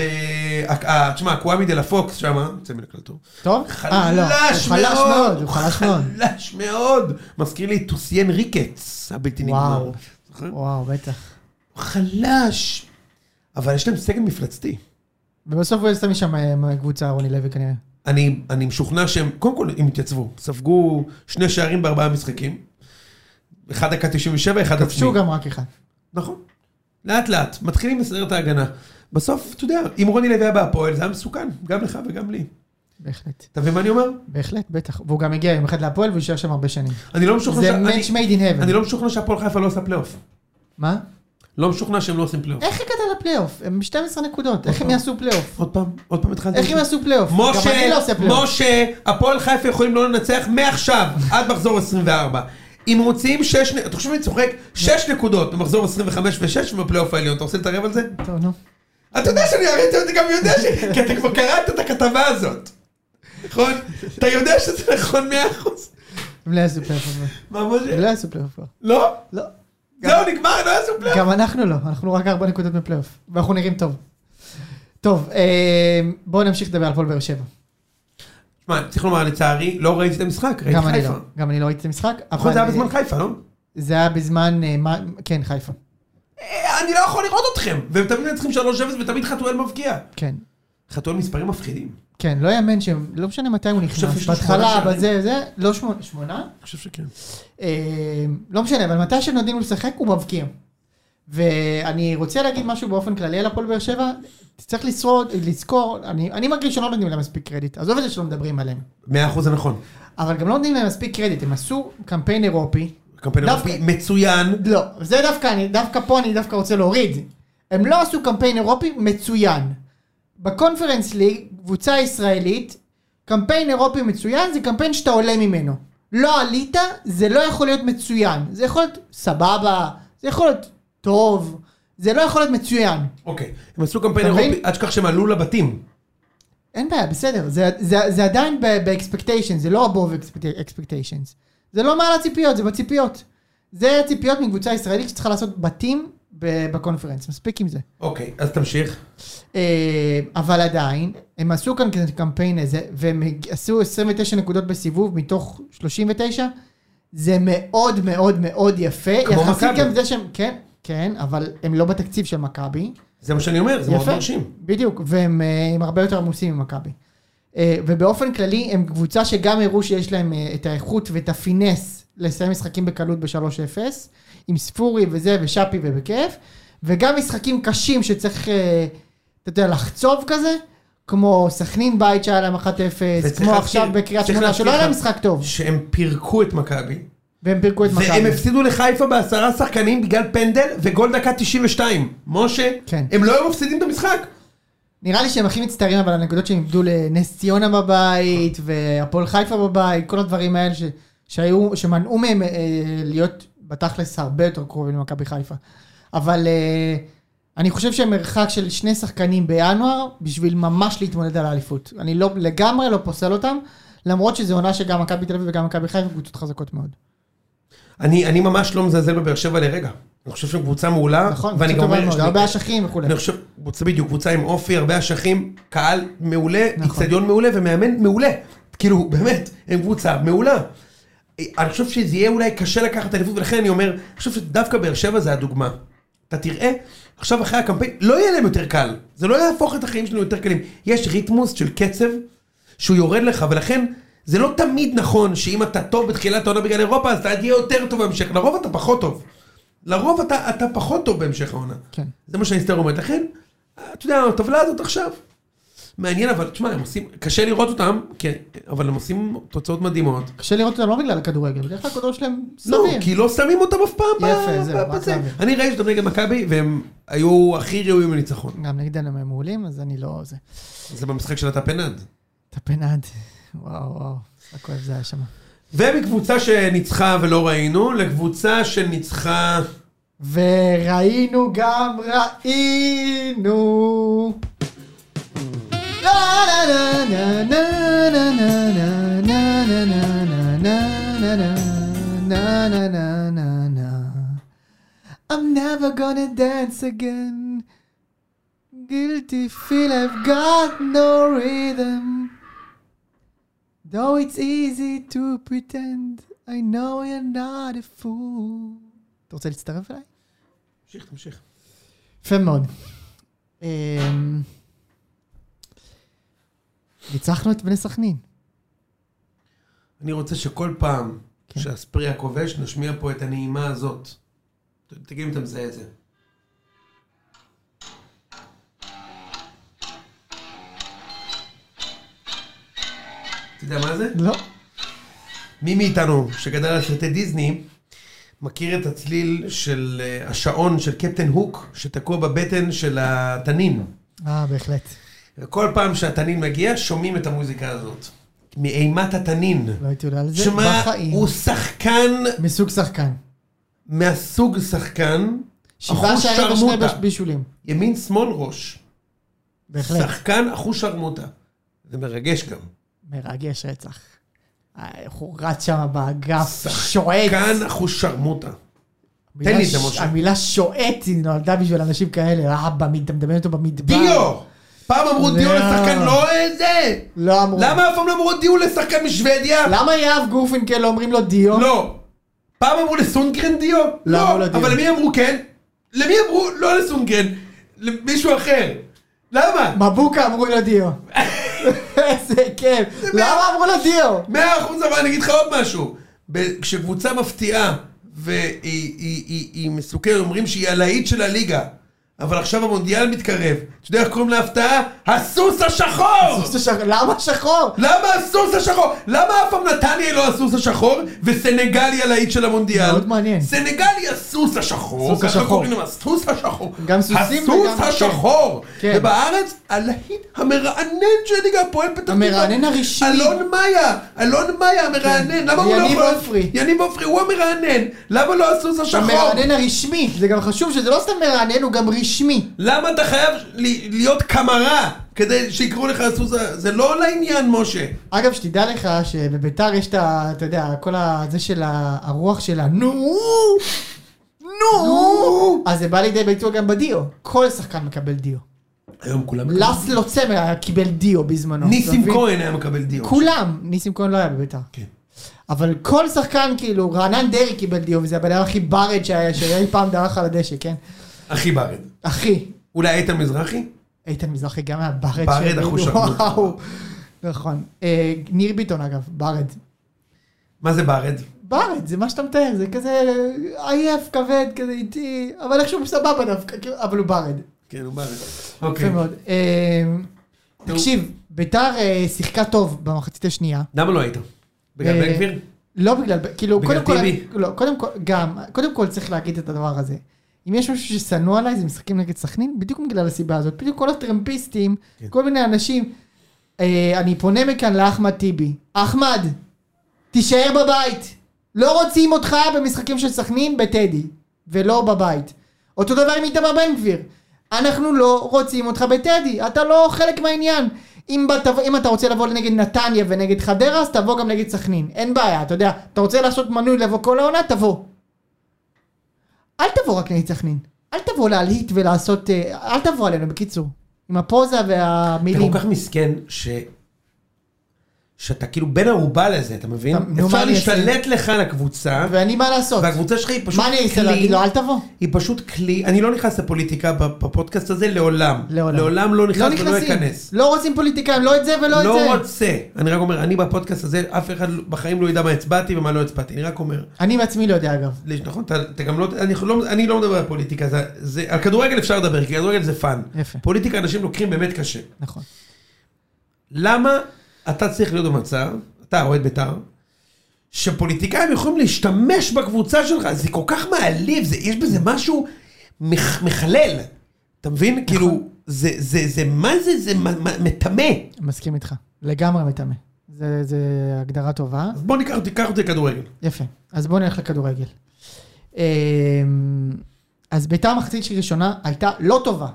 אה, תשמע, קוואמי דה לה פוקס שמה, יוצא מן הכלל טוב.
טוב? אה, לא.
חלש
הוא חלש מאוד,
מאוד,
הוא חלש מאוד.
חלש מאוד. מזכיר לי את טוסיאן ריקץ, הבלתי נגמר.
וואו.
זוכר?
וואו, בטח.
הוא חלש. אבל יש להם סגל מפלצתי.
ובסוף הוא יצא משם אה, קבוצה, רוני לוי כנראה.
אני, אני משוכנע שהם, קודם כל הם התייצבו, ספגו שני שערים בארבעה משחקים. אחד דקה 97, אחד עצמי.
כבשו גם רק אחד.
נכון. לאט לאט, מתחילים לסדר את ההגנה. בסוף, אתה יודע, אם רוני לוי היה בהפועל, זה היה מסוכן, גם לך וגם לי.
בהחלט.
אתה מבין מה אני אומר?
בהחלט, בטח. והוא גם הגיע יום אחד להפועל והוא יישאר שם הרבה שנים.
אני לא משוכנע,
זה
ש- אני-
match made in heaven.
אני לא משוכנע שהפועל חיפה לא עושה פלייאוף.
מה?
לא משוכנע שהם לא עושים פלייאוף.
איך הגעת לפלייאוף? הם 12 נקודות, איך הם
פעם.
יעשו פלייאוף?
עוד פעם, עוד פעם התחלתי.
איך הם יעשו פלייאוף? גם אני לא
משה,
עושה פלייאוף.
משה, הפועל חיפה יכולים לא לנצח מעכשיו עד מחזור 24. אם מוציאים שש, נ- אתה חושב שאני צוחק? שש נקודות במחזור 25 ו-6 ובפלייאוף העליון. אתה רוצה להתערב על זה?
טוב, נו.
אתה יודע שאני הרי אתה גם יודע ש... *laughs* כי אתה כבר קראת את הכתבה הזאת. נכון? אתה יודע שזה נכון מאה אחוז.
הם לא יעשו פלייאוף. אבל.
מה משה?
הם לא יעשו פלייאוף. כבר.
לא?
לא.
זהו, נגמר, לא יעשו פלייאוף.
גם אנחנו לא, אנחנו רק 4 נקודות מפלייאוף. ואנחנו אמ, נראים טוב. טוב, אה, בואו נמשיך לדבר על הפועל באר שבע.
שמע, צריך לומר, לצערי, לא ראיתי את המשחק, ראיתי
גם אני לא,
חיפה.
גם אני לא ראיתי את המשחק.
נכון, זה היה
אבל,
בזמן
אה,
חיפה, לא?
זה היה בזמן, אה, מה- כן, חיפה.
אה, אני לא יכול לראות אתכם! והם תמיד מנצחים 3-0 ותמיד חתואל מבקיע.
כן.
חתואל מספרים מפחידים.
כן, לא יאמן שהם, לא משנה מתי הוא
חושב
נכנס,
שיש לו שמונה
בהתחלה,
שערים.
בזה, זה, לא שמונה, שמונה?
אני חושב שכן.
אה, לא משנה, אבל מתי שנותנים לו לשחק הוא מבקיע. ואני רוצה להגיד משהו באופן כללי על הפועל באר שבע, צריך לשרוד, לזכור, אני, אני מרגיש שלא נותנים להם מספיק קרדיט, עזוב את זה שלא מדברים עליהם,
100% זה נכון.
אבל גם לא נותנים להם מספיק קרדיט, הם עשו קמפיין אירופי,
קמפיין
דווקא-
אירופי מצוין.
לא, זה דווקא, אני, דווקא פה אני דווקא רוצה להוריד. הם לא עשו קמפיין אירופי מצוין. בקונפרנס ליג, קבוצה ישראלית, קמפיין אירופי מצוין זה קמפיין שאתה עולה ממנו. לא עלית, זה לא יכול להיות מצוין. זה יכול להיות סבבה, זה יכול להיות טוב, זה לא יכול להיות מצוין.
אוקיי. הם עשו קמפיין
אתה מבין?
אירופי, עד שכך שהם עלו לבתים.
אין בעיה, בסדר, זה, זה, זה עדיין באקספקטיישן, זה לא above expectations. זה לא מעל הציפיות, זה בציפיות. זה ציפיות מקבוצה ישראלית שצריכה לעשות בתים ב- בקונפרנס, מספיק עם זה.
אוקיי, אז תמשיך.
אה, אבל עדיין, הם עשו כאן כזה קמפיין הזה, והם עשו 29 נקודות בסיבוב מתוך 39, זה מאוד מאוד מאוד יפה.
כמו
יחסית
מכבי.
גם זה שהם, כן, כן, אבל הם לא בתקציב של מכבי.
זה מה שאני אומר, זה מאוד
יפה.
מרשים.
בדיוק, והם אה, הם הרבה יותר עמוסים ממכבי. אה, ובאופן כללי, הם קבוצה שגם הראו שיש להם אה, את האיכות ואת הפינס לסיים משחקים בקלות ב-3-0, עם ספורי וזה ושאפי ובכיף, וגם משחקים קשים שצריך, אה, אתה יודע, לחצוב כזה, כמו סכנין בית שהיה להם 1-0,
וצריך
כמו
להזכיר-
עכשיו בקריית
צריך
שמונה, שלא היה להם
להזכיר לך
משחק טוב,
שהם פירקו את מכבי.
והם פירקו את מכבי.
והם הפסידו לחיפה בעשרה שחקנים בגלל פנדל וגול דקה 92. משה,
כן.
הם לא היו מפסידים את המשחק.
נראה לי שהם הכי מצטערים אבל על הנקודות שהם איבדו לנס ציונה בבית, והפועל חיפה בבית, כל הדברים האלה ש, שהיו, שמנעו מהם אה, להיות בתכלס הרבה יותר קרובים למכבי חיפה. אבל אה, אני חושב שהם מרחק של שני שחקנים בינואר, בשביל ממש להתמודד על האליפות. אני לא, לגמרי לא פוסל אותם, למרות שזו עונה שגם מכבי תל אביב וגם מכבי חיפה קבוצות חזקות מאוד.
אני, אני ממש לא מזלזל בבאר שבע לרגע. אני חושב שהם קבוצה מעולה.
נכון?
ואני
קבוצות
גם
טובות
אומר,
מאוד,
שאני-
הרבה אשכים וכולי.
אני חושב, קבוצה בדיוק, קבוצה עם אופי, הרבה אשכים, קהל מעולה,
נכון.
איצטדיון מעולה ומאמן מעולה. כאילו, באמת, הם קבוצה מעולה. אני חושב שזה יהיה אולי קשה לקחת אליפות, ולכן אני אומר, אני חושב שדווקא באר שבע זה הדוגמה. אתה תראה, עכשיו אחרי הקמפיין, לא יהיה להם יותר קל. זה לא יהפוך את החיים שלנו יותר קלים. יש ריתמוס של קצב שהוא יורד לך, ולכן זה לא תמיד נכון שאם אתה טוב בתחילת העונה בגלל אירופה, אז אתה תהיה יותר טוב בהמשך. לרוב אתה פחות טוב. לרוב אתה, אתה פחות טוב בהמשך העונה.
כן.
זה מה שההיסטוריה אומרת. לכן, אתה יודע, הטבלה הזאת עכשיו. מעניין, אבל תשמע, הם עושים, קשה לראות אותם, כן, אבל הם עושים תוצאות מדהימות.
קשה לראות אותם לא בגלל הכדורגל, בדרך כלל הכדור שלהם
לא,
סביר.
כי לא שמים אותם אף פעם. ב-
יפה, זהו,
ב-
רק
בזה.
להבין.
אני ראיתי אותם נגד מכבי, והם היו הכי ראויים לניצחון.
גם נגדנו הם מעולים, אז אני לא... זה.
זה במשחק של הטפנד.
את הפנד. וואו, וואו, רק כואב זה היה שם.
ומקבוצה שניצחה ולא ראינו, לקבוצה שניצחה...
וראינו גם ראינו. לא, לא, לא, לא, לא, לא, לא, לא, לא, לא, לא, לא, לא, לא, לא, לא, לא, לא. I'm never gonna dance again. Guilty feel I've got no rhythm. Though it's easy to pretend I know you're not a fool. אתה רוצה להצטרף אליי?
תמשיך, תמשיך.
יפה מאוד. אמ, ניצחנו את בני סכנין.
אני רוצה שכל פעם
כן.
שהספרי הכובש, נשמיע פה את הנעימה הזאת. ת- תגיד אם אתה מזהה את זה. אתה יודע מה זה?
לא.
מי מאיתנו שגדל על סרטי דיסני, מכיר את הצליל של אה, השעון של קפטן הוק, שתקוע בבטן של התנין.
אה, בהחלט.
וכל פעם שהתנין מגיע, שומעים את המוזיקה הזאת. מאימת התנין.
לא הייתי עולה על זה
שמע,
בחיים.
הוא שחקן
מסוג שחקן.
מהסוג שחקן,
שבעה
אחוז
שערים ושני
שרמוטה.
בש- בישולים.
ימין שמאל ראש.
בהחלט.
שחקן אחוש שרמוטה. זה מרגש גם.
מרגש רצח. אה, איך הוא רץ שם באגף, שועט.
שחקן אחוש שרמוטה.
המילה
תן לי את זה,
ש-
משה.
המילה שועט היא נולדה בשביל אנשים כאלה. אבא, מי- אתה מדמיין אותו במדבר.
דיו! פעם אמרו דיו
לא.
לשחקן לא אה, זה!
לא אמרו.
למה אף פעם לא אמרו דיו לשחקן משוודיה?
למה יהב גורפינקל לא אומרים לו דיו?
לא. פעם אמרו לסונגרן דיו?
לא אמרו לו דיו.
אבל למי אמרו כן? למי אמרו לא לסונגרן? למישהו אחר. למה?
מבוקה אמרו לו דיו. איזה כיף. למה אמרו לו דיו?
מאה אחוז, אבל אני אגיד לך עוד משהו. ב- כשקבוצה מפתיעה והיא היא- היא- היא מסוכרת, אומרים שהיא הלהיט של הליגה, אבל עכשיו המונדיאל מתקרב. אתה יודע איך קוראים להפתעה? הסוס השחור!
זה שח- למה שחור?
למה הסוס השחור? למה אף פעם נתניה היא לא הסוס השחור וסנגל היא הלהיט של המונדיאל?
מאוד מעניין.
סנגל היא הסוס השחור.
סוס
ככה
השחור.
קוראים להם, הסוס השחור.
גם סוסים וגם-
הסוס השחור.
כן.
ובארץ הלהיט המרענן של ליגה הפועל פתח תקווה.
המרענן הרשמי.
לא אלון מאיה. אלון מאיה המרענן. למה הוא לא
כן. יניב
יכול...
עופרי.
יניב עופרי הוא המרענן. למה לא הסוס השחור?
המרענן הרשמי. זה גם חשוב שזה לא סתם מרענן, הוא גם רשמי.
למה אתה חייב ל- להיות קמרה כדי שיקראו לך הסוס ה... זה לא לעניין, משה.
אגב, שתדע לך שבביתר יש את ה... אתה יודע, כל ה... זה של ה- הרוח של הנו! נו! אז זה בא לידי ביטוי גם בדיו. כל שחקן מקבל דיו.
היום כולם...
לסלו צמר היה קיבל דיו
לא,
בזמנו. אתה
ניסים
מבין?
כהן היה מקבל דיו.
כולם, ניסים כהן לא היה בביתר.
כן.
אבל כל שחקן, כאילו, רענן דרעי קיבל דיו, וזה הבן אדם הכי ברד שהיה, שאי פעם דרך על הדשא, כן?
אחי ברד.
אחי,
אולי איתן מזרחי?
איתן מזרחי גם היה ברד.
ברד,
שהביא,
אחוש הגמות.
וואו. נכון. אה, ניר ביטון, אגב, ברד.
מה זה ברד?
ברד, זה מה שאתה מתאר, זה כזה עייף, כבד, כזה איטי, אבל איכשהו סבבה דווקא, כאילו, אבל הוא ברד.
כן, הוא ברד.
יפה
אוקיי.
מאוד. אה, תקשיב, ביתר אה, שיחקה טוב במחצית השנייה.
למה לא היית? בגלל
אה,
בן גביר?
לא בגלל, כאילו,
בגלל
קודם כל,
טיבי?
אני- לא, קודם כל, גם, קודם כל צריך להגיד את הדבר הזה. אם יש משהו ששנוא עליי, זה משחקים נגד סכנין, בדיוק בגלל הסיבה הזאת. בדיוק כל הטרמפיסטים,
כן.
כל מיני אנשים. אה, אני פונה מכאן לאחמד טיבי. אחמד, תישאר בבית. לא רוצים אותך במשחקים של סכנין בטדי, ולא בבית. אותו דבר עם איתמר בן גביר. אנחנו לא רוצים אותך בטדי, אתה לא חלק מהעניין. אם, בת, אם אתה רוצה לבוא נגד נתניה ונגד חדרה, אז תבוא גם נגד סכנין. אין בעיה, אתה יודע, אתה רוצה לעשות מנוי לבוא כל העונה, תבוא. אל תבוא רק נגד סכנין. אל תבוא להלהיט ולעשות... אה, אל תבוא עלינו, בקיצור. עם הפוזה
אתה
והמילים.
כל כך מסכן ש... שאתה כאילו בן ערובה לזה, אתה מבין?
אתה- נו, מה
אפשר
אני אעשה?
להשתלט לך על הקבוצה,
ואני מה לעשות?
והקבוצה שלך היא פשוט
מה אני אעשה
כלי-
להגיד לו, אל תבוא?
היא פשוט כלי, אני לא נכנס לפוליטיקה בפודקאסט הזה לעולם.
לעולם.
לעולם לא נכנס ולא
נכנסים.
אכנס.
לא רוצים פוליטיקאים, לא את זה ולא את זה.
לא רוצה. אני רק אומר, אני בפודקאסט הזה, אף אחד בחיים לא ידע מה הצבעתי ומה לא הצבעתי, אני רק אומר.
אני בעצמי לא יודע אגב.
לש- נכון, אתה, אתה גם לא, אני לא, אני לא מדבר על פוליטיקה, זה, זה, על כדורגל אפשר לדבר, כי כדורגל זה פאן.
יפה.
פוליטיקה אנשים לוקחים באמת קשה.
נכון.
למה אתה צריך להיות במצב, אתה אוהד בית"ר, שפוליטיקאים יכולים להשתמש בקבוצה שלך, זה כל כך מעליב, זה, יש בזה משהו מח, מחלל. אתה מבין? כאילו, זה, זה, זה, מה זה, זה מ- מ- מטמא.
מסכים איתך. לגמרי מטמא. זה, זה הגדרה טובה.
אז בוא ניקח אותי, קח אותי לכדורגל.
יפה. אז בואו נלך לכדורגל. אמ, אז ביתר המחצית שלי ראשונה הייתה לא טובה.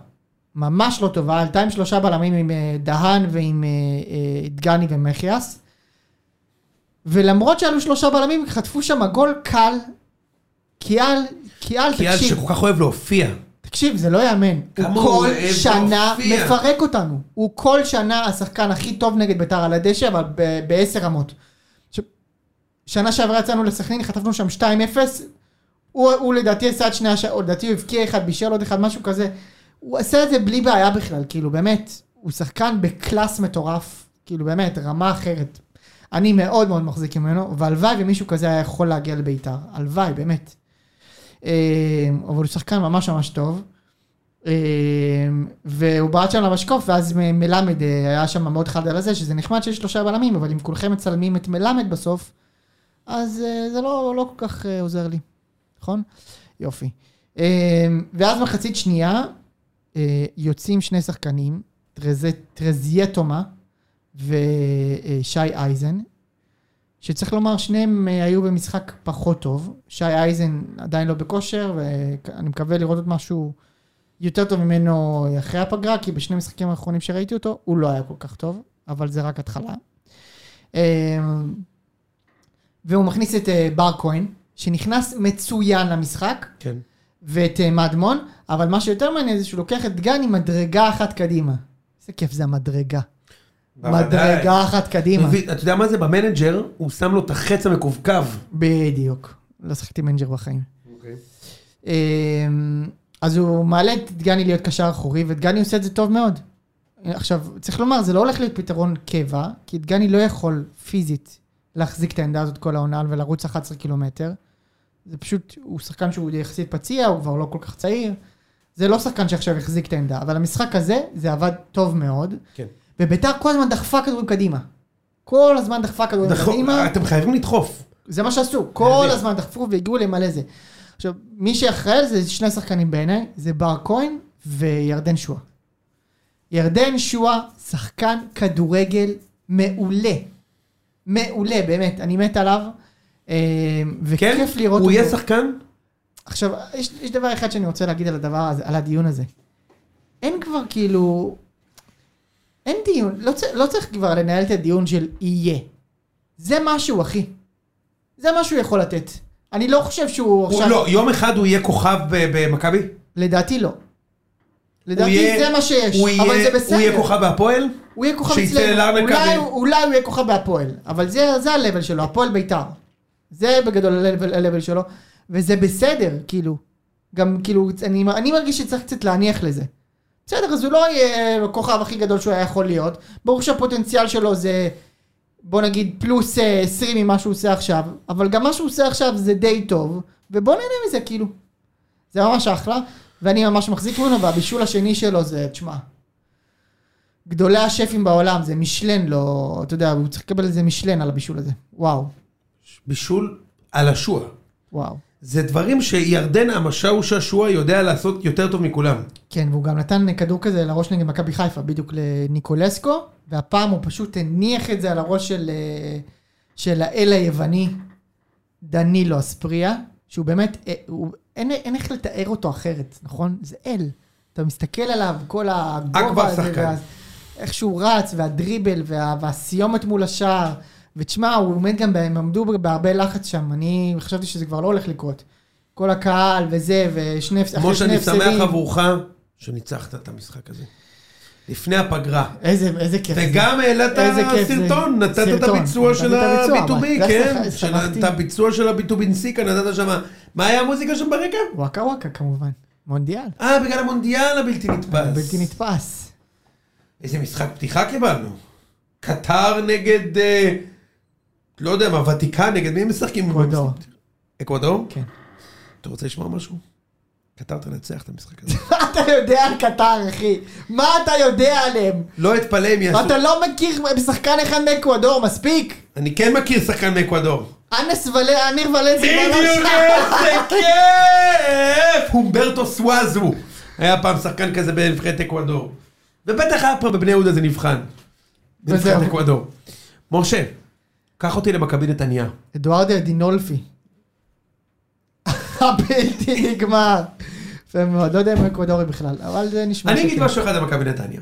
ממש לא טובה. עלתה עם שלושה בלמים עם אה, דהן ועם אה, אה, דגני ומחיאס. ולמרות שעלו שלושה בלמים, חטפו שם גול קל. קיאל, קיאל,
כי אז
תקשיב.
שכל כך אוהב להופיע.
תקשיב, זה לא יאמן.
כמה
הוא
הוא
כל
אוהב
שנה
להופיע.
מפרק אותנו. הוא כל שנה השחקן הכי טוב נגד ביתר על הדשא, אבל ב- בעשר רמות. ש- שנה שעברה יצאנו לסכנין, חטפנו שם 2-0. הוא, הוא לדעתי עשה את שני השערים, לדעתי הוא הבקיע אחד, בישל עוד אחד, משהו כזה. הוא עשה את זה בלי בעיה בכלל, כאילו באמת. הוא שחקן בקלאס מטורף, כאילו באמת, רמה אחרת. אני מאוד מאוד מחזיק ממנו, והלוואי ומישהו כזה היה יכול להגיע לביתר. הלוואי, באמת. אה, אבל הוא שחקן ממש ממש טוב. אה, והוא בעט שם למשקוף, ואז מ- מלמד אה, היה שם מאוד חד על הזה, שזה נחמד שיש שלושה בלמים, אבל אם כולכם מצלמים את מלמד בסוף, אז אה, זה לא, לא כל כך אה, עוזר לי, נכון? יופי. אה, ואז מחצית שנייה, אה, יוצאים שני שחקנים, טרזי- טרזייטומה ושי אה, אייזן, שצריך לומר, שניהם אה, היו במשחק פחות טוב. שי אייזן עדיין לא בכושר, ואני מקווה לראות עוד משהו יותר טוב ממנו אחרי הפגרה, כי בשני המשחקים האחרונים שראיתי אותו, הוא לא היה כל כך טוב, אבל זה רק התחלה. אה, והוא מכניס את אה, בר כהן, שנכנס מצוין למשחק,
כן.
ואת אה, מדמון, אבל מה שיותר מעניין זה שהוא לוקח את דגני מדרגה אחת קדימה. איזה כיף זה המדרגה.
בוודאי.
מדרגה אחת קדימה.
מבין, אתה יודע מה זה? במנג'ר, הוא שם לו את החץ המקווקו.
בדיוק. לא שחקתי מנג'ר בחיים. אוקיי. אמ, אז הוא מעלה את דגני להיות קשר אחורי, ודגני עושה את זה טוב מאוד. עכשיו, צריך לומר, זה לא הולך להיות פתרון קבע, כי דגני לא יכול פיזית להחזיק את העמדה הזאת כל העונה ולרוץ 11 קילומטר. זה פשוט, הוא שחקן שהוא יחסית פציע, הוא כבר לא כל כך צעיר. זה לא שחקן שעכשיו יחזיק את העמדה, אבל המשחק הזה, זה עבד טוב מאוד.
כן.
וביתר כל הזמן דחפה כדורים קדימה. כל הזמן דחפה כדורים
נכון,
קדימה.
אתם חייבים לדחוף.
זה מה שעשו, כל
מבין.
הזמן דחפו והגיעו למלא זה. עכשיו, מי שאחראי על זה, זה שני שחקנים בעיניי, זה בר כהן וירדן שואה. ירדן שואה, שחקן כדורגל מעולה. מעולה, באמת, אני מת עליו. אה,
כן?
וכיף לראות
הוא יהיה שחקן?
עכשיו, יש, יש דבר אחד שאני רוצה להגיד על הדבר הזה, על הדיון הזה. אין כבר כאילו... אין דיון, לא, צ... לא צריך כבר לנהל את הדיון של יהיה. זה משהו, אחי. זה מה שהוא יכול לתת. אני לא חושב שהוא
הוא-
עכשיו...
לא, יום אחד הוא יהיה כוכב ב- במכבי?
לדעתי לא. לדעתי
יהיה-
זה מה שיש,
הוא
אבל
יהיה-
זה בסדר.
הוא יהיה כוכב בהפועל?
הוא יהיה כוכב
שיצא
אצלנו.
לארנקה
אולי,
ו-
הוא- אולי הוא יהיה כוכב בהפועל, אבל זה, זה ה-level שלו, הפועל בית"ר. זה בגדול ה-level ה-level שלו, וזה בסדר, כאילו. גם כאילו, אני, אני מרגיש שצריך קצת להניח לזה. בסדר, אז הוא לא יהיה הכוכב הכי גדול שהוא היה יכול להיות. ברור שהפוטנציאל שלו זה, בוא נגיד, פלוס אה, 20 ממה שהוא עושה עכשיו, אבל גם מה שהוא עושה עכשיו זה די טוב, ובוא נהנה מזה, כאילו. זה ממש אחלה, ואני ממש מחזיק ממנו, והבישול השני שלו זה, תשמע, גדולי השפים בעולם, זה משלן לא, אתה יודע, הוא צריך לקבל איזה משלן על הבישול הזה. וואו,
בישול על השועה.
וואו.
זה דברים שירדן המשאוש השועה יודע לעשות יותר טוב מכולם.
כן, והוא גם נתן כדור כזה לראש נגד מכבי חיפה, בדיוק לניקולסקו, והפעם הוא פשוט הניח את זה על הראש של, אה, של האל היווני, דנילו אספריה, שהוא באמת, אה, הוא, אין, אין איך לתאר אותו אחרת, נכון? זה אל. אתה מסתכל עליו, כל הגובה
אכבר
הזה,
שחקן.
וה, איך שהוא רץ, והדריבל, וה, והסיומת מול השער, ותשמע, הוא עומד גם, ב- הם עמדו בהרבה לחץ שם, אני חשבתי שזה כבר לא הולך לקרות. כל הקהל וזה, ושני הפס-
כמו
אחרי שני
שאני
הפסדים.
שמח עבורך שניצחת את המשחק הזה. לפני הפגרה.
איזה, איזה כיף. זה.
וגם העלית
איזה כיף זה.
סרטון, נתת את
סרטון.
הביצוע של
נתתי את הביצוע,
ה-B2B,
אבל
כן?
שמחתי.
של ה- את הביצוע של ה-B2B נסיקה, נתת שם. מה היה המוזיקה שם ברקע?
וואקה וואקה כמובן. מונדיאל.
אה, בגלל המונדיאל הבלתי נתפס.
בלתי נתפס.
איזה משחק פתיחה קיבלנו. קטר נגד, אה, לא יודע מה, ותיקן נגד מי הם משחקים?
אקוודור.
אקוודור?
כן.
אתה רוצה לשמוע משהו? קטר תנצח את המשחק הזה. *laughs*
מה אתה יודע על קטר, אחי? מה אתה יודע עליהם?
לא אתפלא אם יעשו...
אתה לא מכיר שחקן אחד מאקוודור, מספיק?
אני כן מכיר שחקן מאקוודור.
אנס ולה, אמיר ולנסי.
בדיוק איזה כיף! הומברטו סוואזו. היה פעם שחקן כזה בנבחרת אקוודור. ובטח היה פה בבני יהודה זה נבחן. בנבחרת
וזהו.
אקוודור. משה, קח אותי למכבי נתניה.
אדוארדו דינולפי. *laughs* הבלתי נגמר. יפה מאוד, לא יודע אם הוא אקוודורי בכלל, אבל זה נשמע
אני אגיד
שכן.
משהו אחד על מכבי נתניה.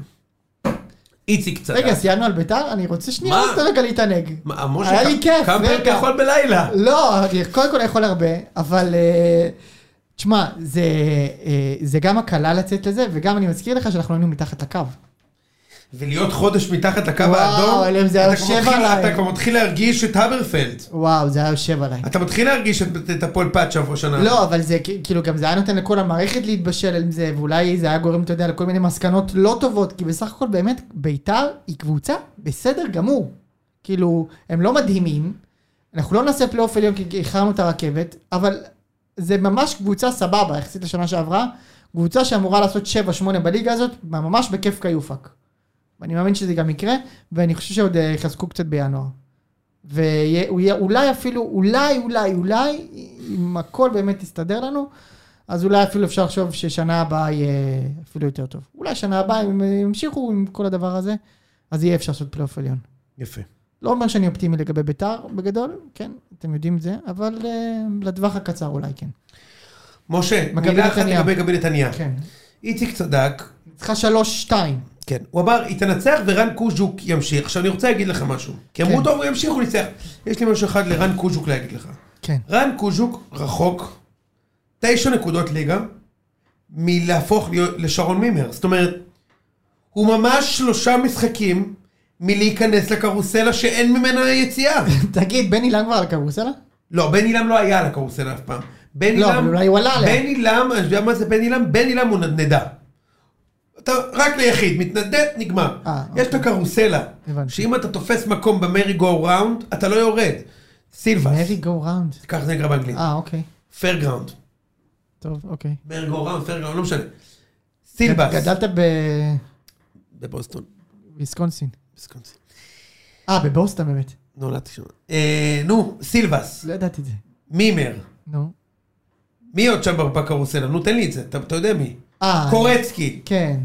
איציק צדק.
רגע, סיימנו על ביתר? אני רוצה שנייה
מה?
עוד רגע להתענג.
מה, משה,
היה לי כיף,
קם
רגע.
פרק יכול בלילה.
לא, אני קודם כל יכול הרבה, אבל... אה, תשמע, זה, אה, זה גם הקלה לצאת לזה, וגם אני מזכיר לך שאנחנו היינו מתחת לקו.
ולהיות חודש מתחת לקו
וואו,
האדום,
אלוהים, זה
אתה
היה
כבר
יושב
מתחיל-
עליי.
אתה כבר מתחיל להרגיש את הברפלד.
וואו, זה היה יושב עליי.
אתה מתחיל להרגיש את את הפועל פאצ'ה עבור שנה.
לא, אבל זה כ- כאילו גם זה היה נותן לכל המערכת להתבשל עם זה, ואולי זה היה גורם, אתה יודע, לכל מיני מסקנות לא טובות, כי בסך הכל באמת, ביתר היא קבוצה בסדר גמור. כאילו, הם לא מדהימים, אנחנו לא נעשה פלייאוף עליון כי איחרנו את הרכבת, אבל זה ממש קבוצה סבבה, יחסית לשנה שעברה, קבוצה שאמורה לעשות 7-8 בליגה הזאת, ממש בכיף כיופק. ואני מאמין שזה גם יקרה, ואני חושב שעוד אה, יחזקו קצת בינואר. והוא יהיה אולי אפילו, אולי, אולי, אולי, אם הכל באמת יסתדר לנו, אז אולי אפילו אפשר לחשוב ששנה הבאה יהיה אפילו יותר טוב. אולי שנה הבאה, אם ימשיכו עם כל הדבר הזה, אז יהיה אפשר לעשות פלייאוף עליון.
יפה.
לא אומר שאני אופטימי לגבי ביתר, בגדול, כן, אתם יודעים את זה, אבל uh, לטווח הקצר אולי כן.
משה,
מכבי
מילה אחת
נתניה.
לגבי מכבי נתניה.
כן.
איציק צדק,
צריכה שלוש-שתיים.
כן, הוא אמר, היא תנצח ורן קוז'וק ימשיך. עכשיו אני רוצה להגיד לך משהו. כי אמרו,
כן.
טוב, הוא ימשיך, הוא ניצח. יש לי משהו אחד לרן קוז'וק להגיד לך.
כן.
רן קוז'וק רחוק, תשע נקודות ליגה, מלהפוך להיות- לשרון מימר. זאת אומרת, הוא ממש שלושה משחקים מלהיכנס לקרוסלה שאין ממנה יציאה.
*laughs*
*laughs*
תגיד, בני לם כבר על קרוסלה?
לא, בן עילם לא היה על הקרוסלה אף פעם. בן
לא,
עילם-
אבל אולי הוא עלה עליה.
בן עילם, אני יודע מה זה בן עילם? בן עילם הוא נדנדה. אתה רק ליחיד, מתנדנד, נגמר.
אה,
יש את
אוקיי.
הקרוסלה,
הבנתי.
שאם אתה תופס מקום במרי גו ראונד, אתה לא יורד. סילבס,
מרי גו ראונד.
ככה זה נקרא באנגלית.
אה, אוקיי.
פייר גראונד.
טוב, אוקיי.
מרי גו ראונד, פייר גראונד, לא משנה. סילבס.
גדלת בוויסקונסין.
בבוסטון, ויסקונסין.
אה, בבוסטון באמת.
נולדתי שם. אה, נו, סילבס,
לא ידעתי את זה.
מימר.
נו.
מי עוד שם בקרוסלה? נו, תן לי את זה, אתה אתה יודע מי.
אה,
קורצקי,
כן.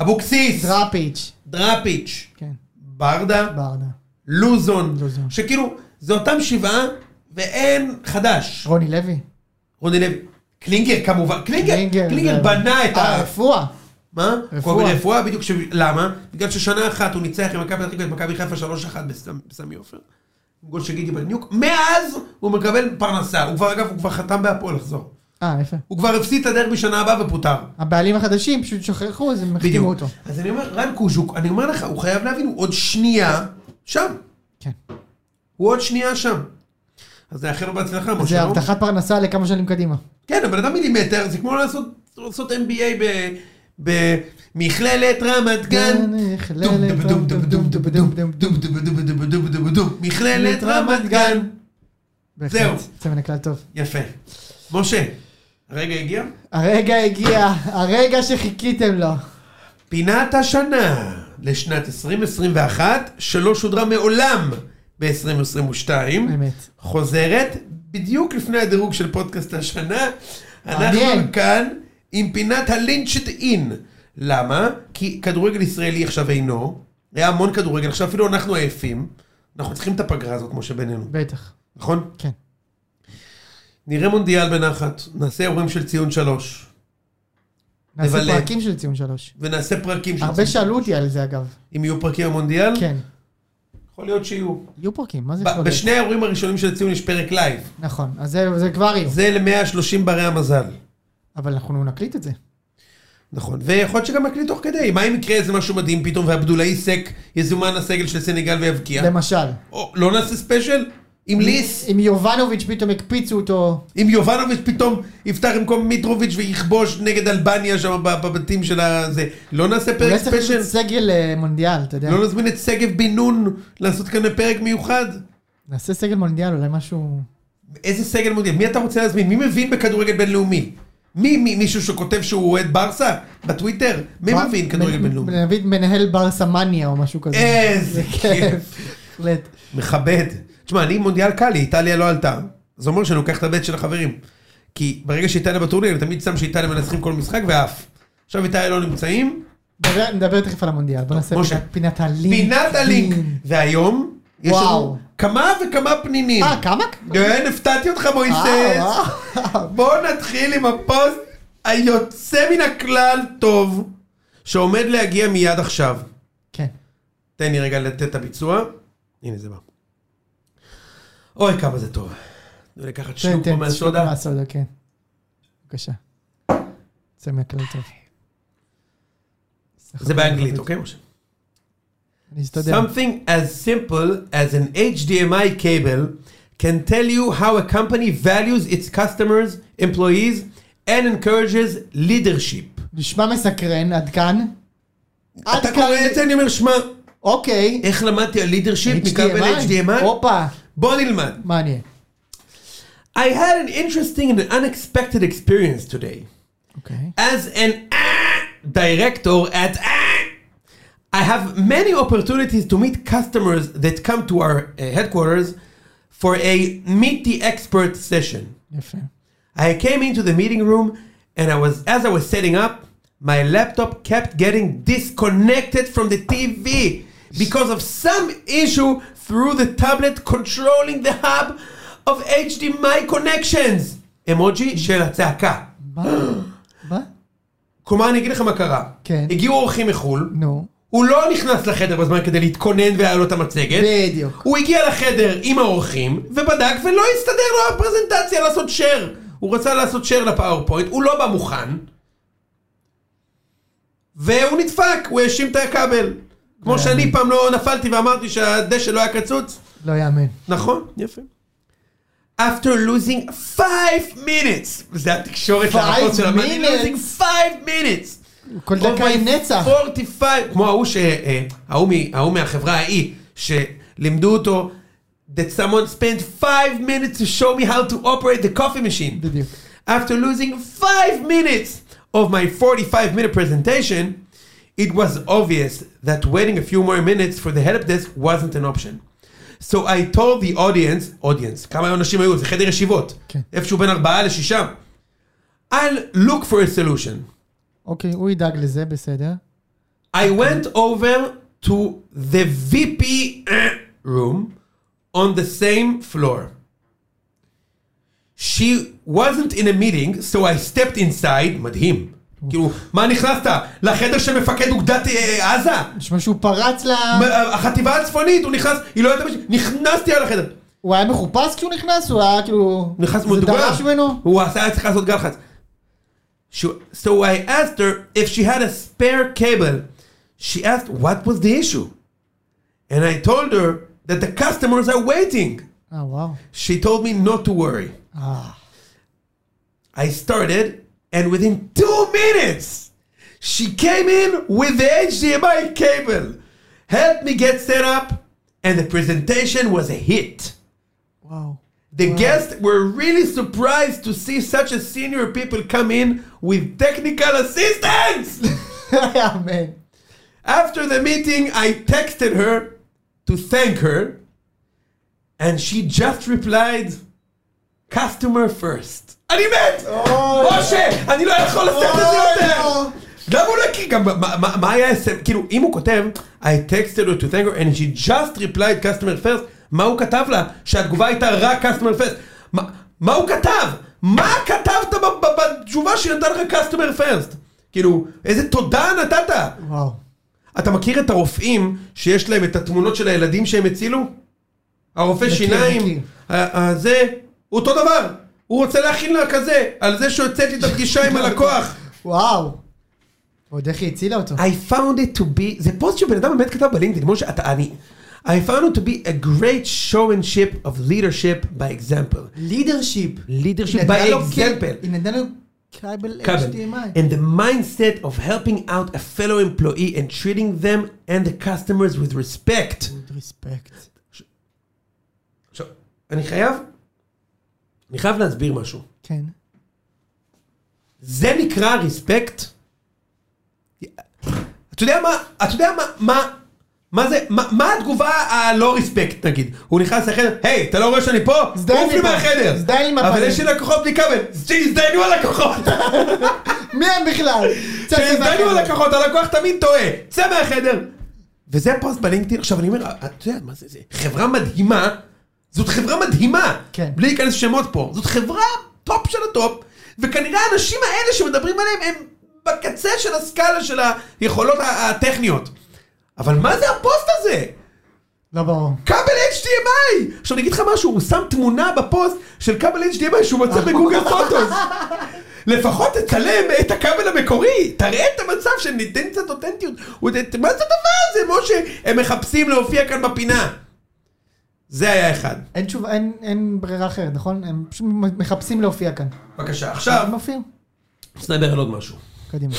אבוקסיס,
דראפיץ'.
דראפיץ',
כן,
ברדה,
ברדה.
לוזון,
לוזון.
שכאילו, זה אותם שבעה, ואין חדש.
רוני לוי.
רוני לוי, קלינגר כמובן, קלינגר, קלינגר
זה-
בנה את
אה,
ה...
רפואה.
מה?
רפואה.
רפואה. רפואה, בדיוק, ש- למה? בגלל ששנה אחת הוא ניצח עם מכבי פתח תקווה את מכבי חיפה 3-1 בסמ- בסמי עופר. גול של גידי בניוק, מאז הוא מקבל פרנסה, הוא כבר אגב, הוא כבר חתם בהפועל לחזור.
אה, יפה.
הוא כבר הפסיד את הדרבי שנה הבאה ופוטר.
הבעלים החדשים פשוט שכחו, אז הם החתימו אותו.
אז אני אומר, רן קוז'וק, אני אומר לך, הוא חייב להבין, הוא עוד שנייה שם.
כן.
הוא עוד שנייה שם. אז נאחל לו בהצלחה, משה.
זה
לא?
הבטחת פרנסה לכמה שנים קדימה.
כן, הבן אדם מילימטר, זה כמו לעשות, לעשות NBA ב- במכללת רמת
כן,
גן.
מכללת רמת
מכללת רמת גן.
בהחלט.
זהו.
יוצא מן הכלל טוב.
יפה. משה, הרגע הגיע?
הרגע הגיע, הרגע שחיכיתם לו.
פינת השנה לשנת 2021, שלא שודרה מעולם ב-2022,
אמת.
חוזרת בדיוק לפני הדירוג של פודקאסט השנה.
מעניין.
אנחנו כאן עם פינת הלינצ'ט אין. למה? כי כדורגל ישראלי עכשיו אינו, היה המון כדורגל, עכשיו אפילו אנחנו עייפים. אנחנו צריכים את הפגרה הזאת, משה, בינינו,
בטח.
נכון?
כן.
נראה מונדיאל בנחת, נעשה אירועים של ציון שלוש,
נעשה
נבלה.
פרקים של ציון שלוש.
ונעשה פרקים של
הרבה
ציון.
שאלו אותי על זה אגב.
אם יהיו פרקים במונדיאל,
כן.
יכול להיות שיהיו.
יהיו פרקים, מה זה
ב-
יכול להיות?
בשני האירועים הראשונים של הציון יש פרק לייב.
נכון, אז זה- זה כבר יהיו.
זה ל-130 ברי המזל.
אבל אנחנו נקליט את זה.
נכון, ויכול להיות שגם נקליט תוך כדי. מה אם יקרה איזה משהו מדהים פתאום ועבדולאי סק יזומן לסגל של סנגל ויבקיע?
למשל.
או לא נעשה ספיישל? עם כן. ליס?
אם יובנוביץ' פתאום הקפיצו אותו.
אם יובנוביץ' פתאום יפתח במקום מיטרוביץ' ויכבוש נגד אלבניה שם בב- בבתים של הזה? לא נעשה
אולי
פרק
צריך לעשות
ספיישל?
סגל אה, מונדיאל, אתה יודע.
לא נזמין את שגב בן נון לעשות כאן פרק מיוחד?
נעשה סגל מונדיאל, אולי משהו...
איזה סגל מודיע? מי אתה רוצה להזמין? מי מבין בכדורגל בינלאומי? מי, מי מישהו שכותב שהוא אוהד ברסה? בטוויטר? מי
מה?
מבין כדורגל
מ-
בינלאומי?
נביא מנהל ברסה מניה או משהו כזה.
איזה כיף.
בהחלט.
מכבד. תשמע, אני מונדיאל קל לי, איטליה לא עלתה. זה אומר שאני לוקח את הבט של החברים. כי ברגע שאיטליה בטורניר, אני תמיד שם שאיטליה מנצחים כל משחק ואף. עכשיו איטליה לא נמצאים,
נדבר- נדבר תכף על המונדיאל, בוא נעשה
משה.
פינת- פינת הלינק.
פינת הלינק. והיום, יש לנו
וואו.
כמה וכמה פנינים.
אה, כמה?
כן, הפתעתי אותך
אה,
מויסס.
וואו.
בואו נתחיל עם הפוסט היוצא מן הכלל טוב, שעומד להגיע מיד עכשיו.
כן.
תן לי רגע לתת את הביצוע. הנה זה בא. אוי, כמה זה טוב. תנו לי לקחת
תן,
שלוק פה
תן, שלוק
מהסודה.
מהסודה, כן. בבקשה. יוצא מהכלל טוב.
זה באנגלית, אוקיי, משה?
אני אשתדל.
Something as simple as an HDMI cable can tell you how a company values its customers, employees, and encourages leadership.
נשמע מסקרן, עד כאן? עד
אתה
כאן
קורא
זה-
את זה, אני אומר, שמע,
אוקיי.
איך למדתי על leadership מכבל HDMI?
הופה,
בוא נלמד.
מעניין.
I had an interesting and unexpected experience today.
אוקיי.
As an ah, director at ah, I have many opportunities to meet customers that come to our uh, headquarters for a meet the expert session.
יפה.
I came into the meeting room and I was as I was setting up, my laptop kept getting disconnected from the TV because of some issue through the tablet controlling the hub of HDMI connections. אמוג'י של הצעקה.
מה? מה?
כלומר, אני אגיד לך מה קרה.
כן.
הגיעו אורחים מחו"ל,
נו.
הוא לא נכנס לחדר בזמן כדי להתכונן והיה לו את המצגת.
בדיוק.
הוא הגיע לחדר עם האורחים, ובדק, ולא הסתדר לו הפרזנטציה לעשות share. הוא רצה לעשות share לפאורפוינט, הוא לא בא מוכן. והוא נדפק, הוא האשים את הכבל.
אה.
כמו שאני פעם לא נפלתי ואמרתי שהדשא לא היה קצוץ.
לא יאמן.
נכון, יפה. After losing 5 minutes, זה התקשורת
Five
לערפות של המאני
minutes?
losing 5 minutes.
כל דקה עם נצח.
45, כמו ההוא ש... אה, ההוא מ- ההוא מהחברה ההיא, שלימדו אותו, that someone spent 5 minutes to show me how to operate the coffee machine.
בדיוק.
After losing 5 minutes of my 45 minute presentation, it was obvious that waiting a few more minutes for the help desk wasn't an option. So I told the audience, audience, כמה אנשים היו? זה חדר ישיבות.
כן.
איפשהו בין ארבעה לשישה. I'll look for a solution.
אוקיי, הוא ידאג לזה, בסדר.
I went over to the VP room on the same floor. She wasn't in a meeting, so I stepped inside, מדהים. כאילו, מה נכנסת? לחדר של מפקד אוגדת אה, עזה?
נשמע שהוא פרץ ל...
מ- החטיבה הצפונית, הוא נכנס, היא לא יודעת... מה ש- נכנסתי על החדר.
הוא היה מחופש כשהוא נכנס? הוא היה כאילו...
נכנס
זה
מודבר.
דרש ממנו?
הוא עשה, היה צריך לעשות גלחץ. She- So I asked her if she had a spare cable. She asked what was the issue. And I told her that the customers are waiting.
אה, וואו.
She told me not to worry.
אה.
I started, and within two minutes, she came in with the HDMI cable, helped me get set up, and the presentation was a hit.
וואו.
The guests were really surprised to see such a senior people come in with technical assistance. *laughs*
לא יאמן.
After the meeting, I texted her to thank her, and she just replied, customer first. אני מת! משה, אני לא יכול לשאת את זה יותר! למה הוא לא... כי גם מה- מה- מה היה הסמ... כאילו, אם הוא כותב, I texted her to thank her and she just replied customer first, מה הוא כתב לה? שהתגובה הייתה רק customer first. מה- מה הוא כתב? מה כתבת ב- ב- בתשובה שנתן לך customer first? כאילו, איזה תודה נתת.
וואו.
אתה מכיר את הרופאים שיש להם את התמונות של הילדים שהם הצילו? הרופא
מכיר, מכיר.
שיניים, ה- ה- זה, אותו דבר. הוא רוצה להכין לה כזה, על זה שהוצאתי את הפגישה עם הלקוח.
וואו. ועוד איך היא הצילה אותו.
*laughs* I found it to be, זה פוסט שבן אדם באמת כתב בלינקדאין, משה, אתה, אני, I found it to be a great showmanship of leadership by example.
לידרשיפ.
Leadership by example.
היא נתנה לו קייבל HDMI.
And the mindset of helping out a fellow employee and treating them and the customers with respect.
ריספקט.
עכשיו, אני חייב, אני חייב להסביר משהו.
כן.
זה נקרא ריספקט? אתה יודע מה, אתה יודע מה, מה, מה זה, מה, מה התגובה הלא ריספקט נגיד? הוא נכנס לחדר, היי, אתה לא רואה שאני פה?
הזדהה לי
עוף לי
פה.
מהחדר.
הזדהה לי עם
אבל
הפנים.
יש לי לקוחות בלי כבל. שיזדיינו הלקוחות.
מי הם בכלל?
כן,
צא
שיזדיינו
מהחדר.
הלקוחות, הלקוח תמיד טועה. צא מהחדר. וזה הפוסט בלינקדאין, עכשיו אני אומר, אתה יודע, מה זה, זה חברה מדהימה, זאת חברה מדהימה,
כן.
בלי להיכנס שמות פה, זאת חברה טופ של הטופ, וכנראה האנשים האלה שמדברים עליהם הם בקצה של הסקאלה של היכולות ה- הטכניות. אבל מה זה הפוסט הזה?
לא ברור.
כבל HDMI! עכשיו אני אגיד לך משהו, הוא שם תמונה בפוסט של כבל HDMI שהוא מצא בגוגל *laughs* פוטוס. לפחות תצלם את הכבל המקורי, תראה את המצב שניתן קצת אותנטיות. הוא יודע, מה זה הדבר הזה, משה? הם מחפשים להופיע כאן בפינה. זה היה אחד.
אין תשובה, אין- אין ברירה אחרת, נכון? הם פשוט מחפשים להופיע כאן.
בבקשה, עכשיו,
הם מופיעים.
אז נדבר על עוד משהו.
קדימה.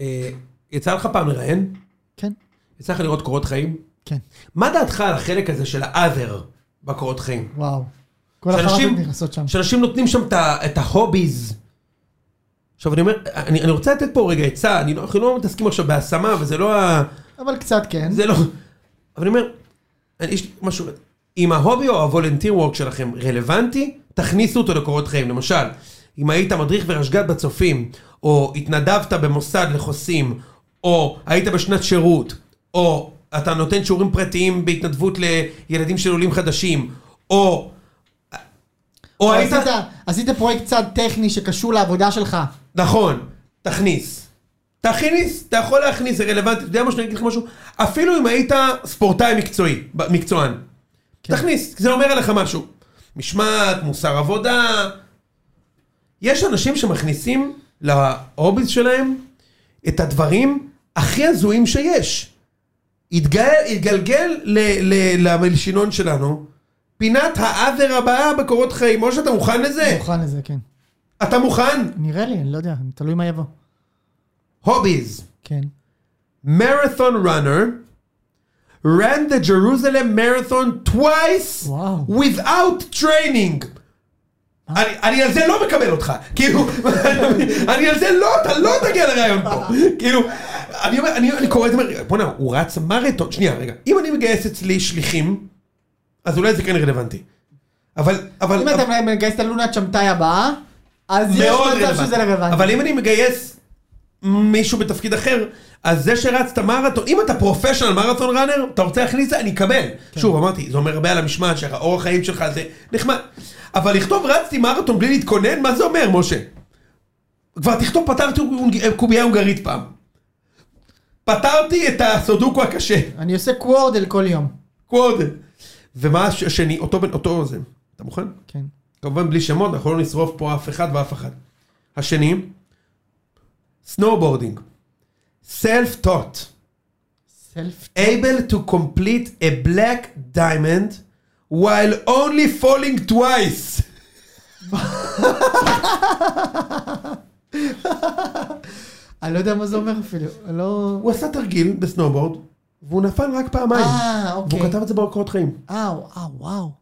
אה, יצא לך פעם לראיין?
כן.
יצא לך לראות קורות חיים?
כן.
מה דעתך על החלק הזה של ה-other בקורות חיים?
וואו. כל
שאנשים,
החרטות נכנסות שם.
שאנשים נותנים שם את ה- את ההוביז. עכשיו אני אומר, אני, אני רוצה לתת פה רגע עצה, אני לא, אנחנו לא מתעסקים עכשיו בהשמה, וזה לא ה...
אבל קצת כן.
זה לא... אבל אני אומר, אני, יש לי משהו, אם ההובי או הוולנטיר וורק שלכם רלוונטי, תכניסו אותו לקורות חיים. למשל, אם היית מדריך ורשג"ד בצופים, או התנדבת במוסד לחוסים, או היית בשנת שירות, או אתה נותן שיעורים פרטיים בהתנדבות לילדים של עולים חדשים, או... או היית...
עשית- עשית פרויקט צד טכני שקשור לעבודה שלך.
נכון, תכניס. תכניס, אתה יכול להכניס, זה רלוונטי, אתה יודע משהו, אני אגיד לך משהו, אפילו אם היית ספורטאי מקצועי, ב- מקצוען,
כן.
תכניס, זה אומר עליך משהו. משמעת, מוסר עבודה. יש אנשים שמכניסים להוביז שלהם את הדברים הכי הזויים שיש. התגל, התגלגל ל, ל, למלשינון שלנו, פינת העוור הבאה בקורות חיים. משה, אתה מוכן
אני
לזה?
מוכן לזה, כן.
אתה מוכן?
נראה לי, אני לא יודע, תלוי מה יבוא.
הוביז.
כן.
marathon runner, ran the Jerusalem Marathon twice
וואו.
without training. אני, אני על זה לא מקבל אותך, כאילו, *laughs* אני על זה לא, אתה לא תגיע לרעיון פה, כאילו, אני אומר, אני, אני קורא את זה, אומר, בוא'נה, הוא רץ מרתון, שנייה רגע, אם אני מגייס אצלי שליחים, אז אולי זה כן רלוונטי, אבל, אבל,
אם אתה מגייס את הלונה צ'מטאי הבאה, אז יש
מאוד
מצב שזה לא
רלוונטי.
רלוונטי.
אבל אם אני מגייס מישהו בתפקיד אחר, אז זה שרצת מרתון, אם אתה פרופשיונל מרתון ראנר, אתה רוצה להכניס את זה, אני אקבל.
כן.
שוב, אמרתי, זה אומר הרבה על המשמעת שלך, אורח חיים שלך זה נחמד. אבל לכתוב רצתי מרתון בלי להתכונן, מה זה אומר, משה? כבר תכתוב פתרתי הונג- קובייה הונגרית פעם. פתרתי את הסודוקו הקשה.
אני עושה קוורדל כל יום.
קודם. ומה הש- השני? אותו בן, אותו זה. אתה מוכן?
כן.
כמובן בלי שמות, אנחנו לא נשרוף פה אף אחד ואף אחת. השני, סנואובורדינג. Self-taught,
סלף.
able to complete a black diamond while only falling twice.
אני לא יודע מה זה אומר אפילו. אני לא...
הוא עשה תרגיל בסנואובורד, והוא נפל רק פעמיים.
אה, אוקיי.
והוא כתב את זה בקורות חיים.
אה, אה, וואו.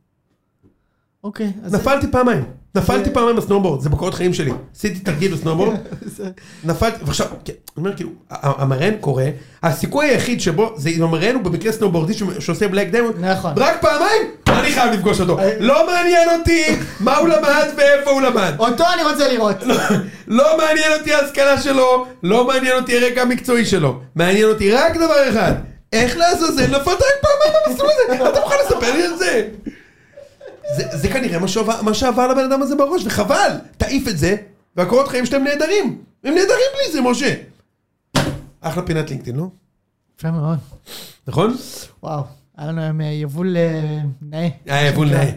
אוקיי, אז...
נפלתי פעמיים. נפלתי פעמיים בסנואובורד, זה בקורות חיים שלי. עשיתי תרגיל בסנואובורד,
זה-
נפלתי, ועכשיו, כן, אני אומר כאילו, ה- המראה קורה, הסיכוי היחיד שבו, זה עם המראה הוא במקרה סנובורדי שעושה בלק דיימונד,
נכון.
רק פעמיים, אני חייב לפגוש אותו, לא מעניין אותי מה הוא למד ואיפה הוא למד,
*laughs* אותו אני רוצה לראות.
לא מעניין אותי ההשכלה שלו, לא מעניין אותי הרקע המקצועי שלו, מעניין אותי רק דבר אחד, איך לעזאזל נפלת רק פעמיים במסלול הזה, אתה מוכן לספר לי על זה? זה, זה כנראה מה שעבר, מה שעבר לבן אדם הזה בראש, וחבל, תעיף את זה, והקורות חיים שלהם נהדרים. הם נהדרים בלי זה, משה. אחלה פינת לינקדאין, לא?
יפה מאוד.
נכון?
וואו. היה לנו היום אה, יבול אה, נאה.
היה יבול נאה.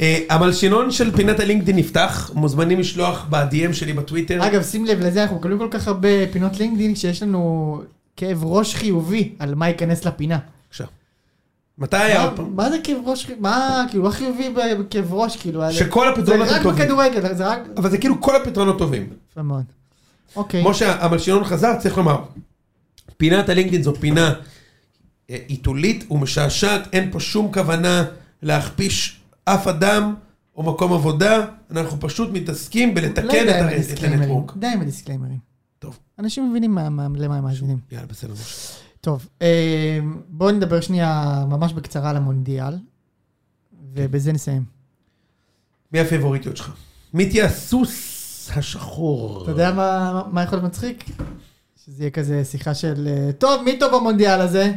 אה, המלשינון של פינת הלינקדאין נפתח, מוזמנים לשלוח ב-DM שלי בטוויטר.
אגב, שים לב לזה, אנחנו מקבלים כל כך הרבה פינות לינקדאין, שיש לנו כאב ראש חיובי על מה ייכנס לפינה.
בבקשה. מתי היה אה, עוד
מה-
פעם?
מה זה כאב ראש, חיובי? מה, כאילו, מה חיובי ב- בכאב ראש, כאילו? על-
שכל
זה
הפתרונות
רק
הם טובים.
בכדורגל, זה רק...
אבל זה כאילו כל הפתרונות טובים.
יפה מאוד. אוקיי.
כמו שהמלשינון חזר, צריך לומר, פינת הלינקדאין זו פינה אה, עיתולית ומשעשעת, אין פה שום כוונה להכפיש אף אדם או מקום עבודה, אנחנו פשוט מתעסקים
אולי
בלתקן
די
את
עם
הר- את
לא הדיסקליימרים.
הנטוורק.
די עם הדיסקליימרים.
טוב.
אנשים מבינים מה- מה- למה הם מאזינים.
יאללה, בסדר. משה.
טוב, אה, בואו נדבר שנייה ממש בקצרה על המונדיאל, ובזה נסיים.
מי הפייבוריטיות שלך? מי תהיה הסוס השחור?
אתה יודע מה- מה יכול להיות מצחיק? שזה יהיה כזה שיחה של, אה, טוב, מי טוב במונדיאל הזה?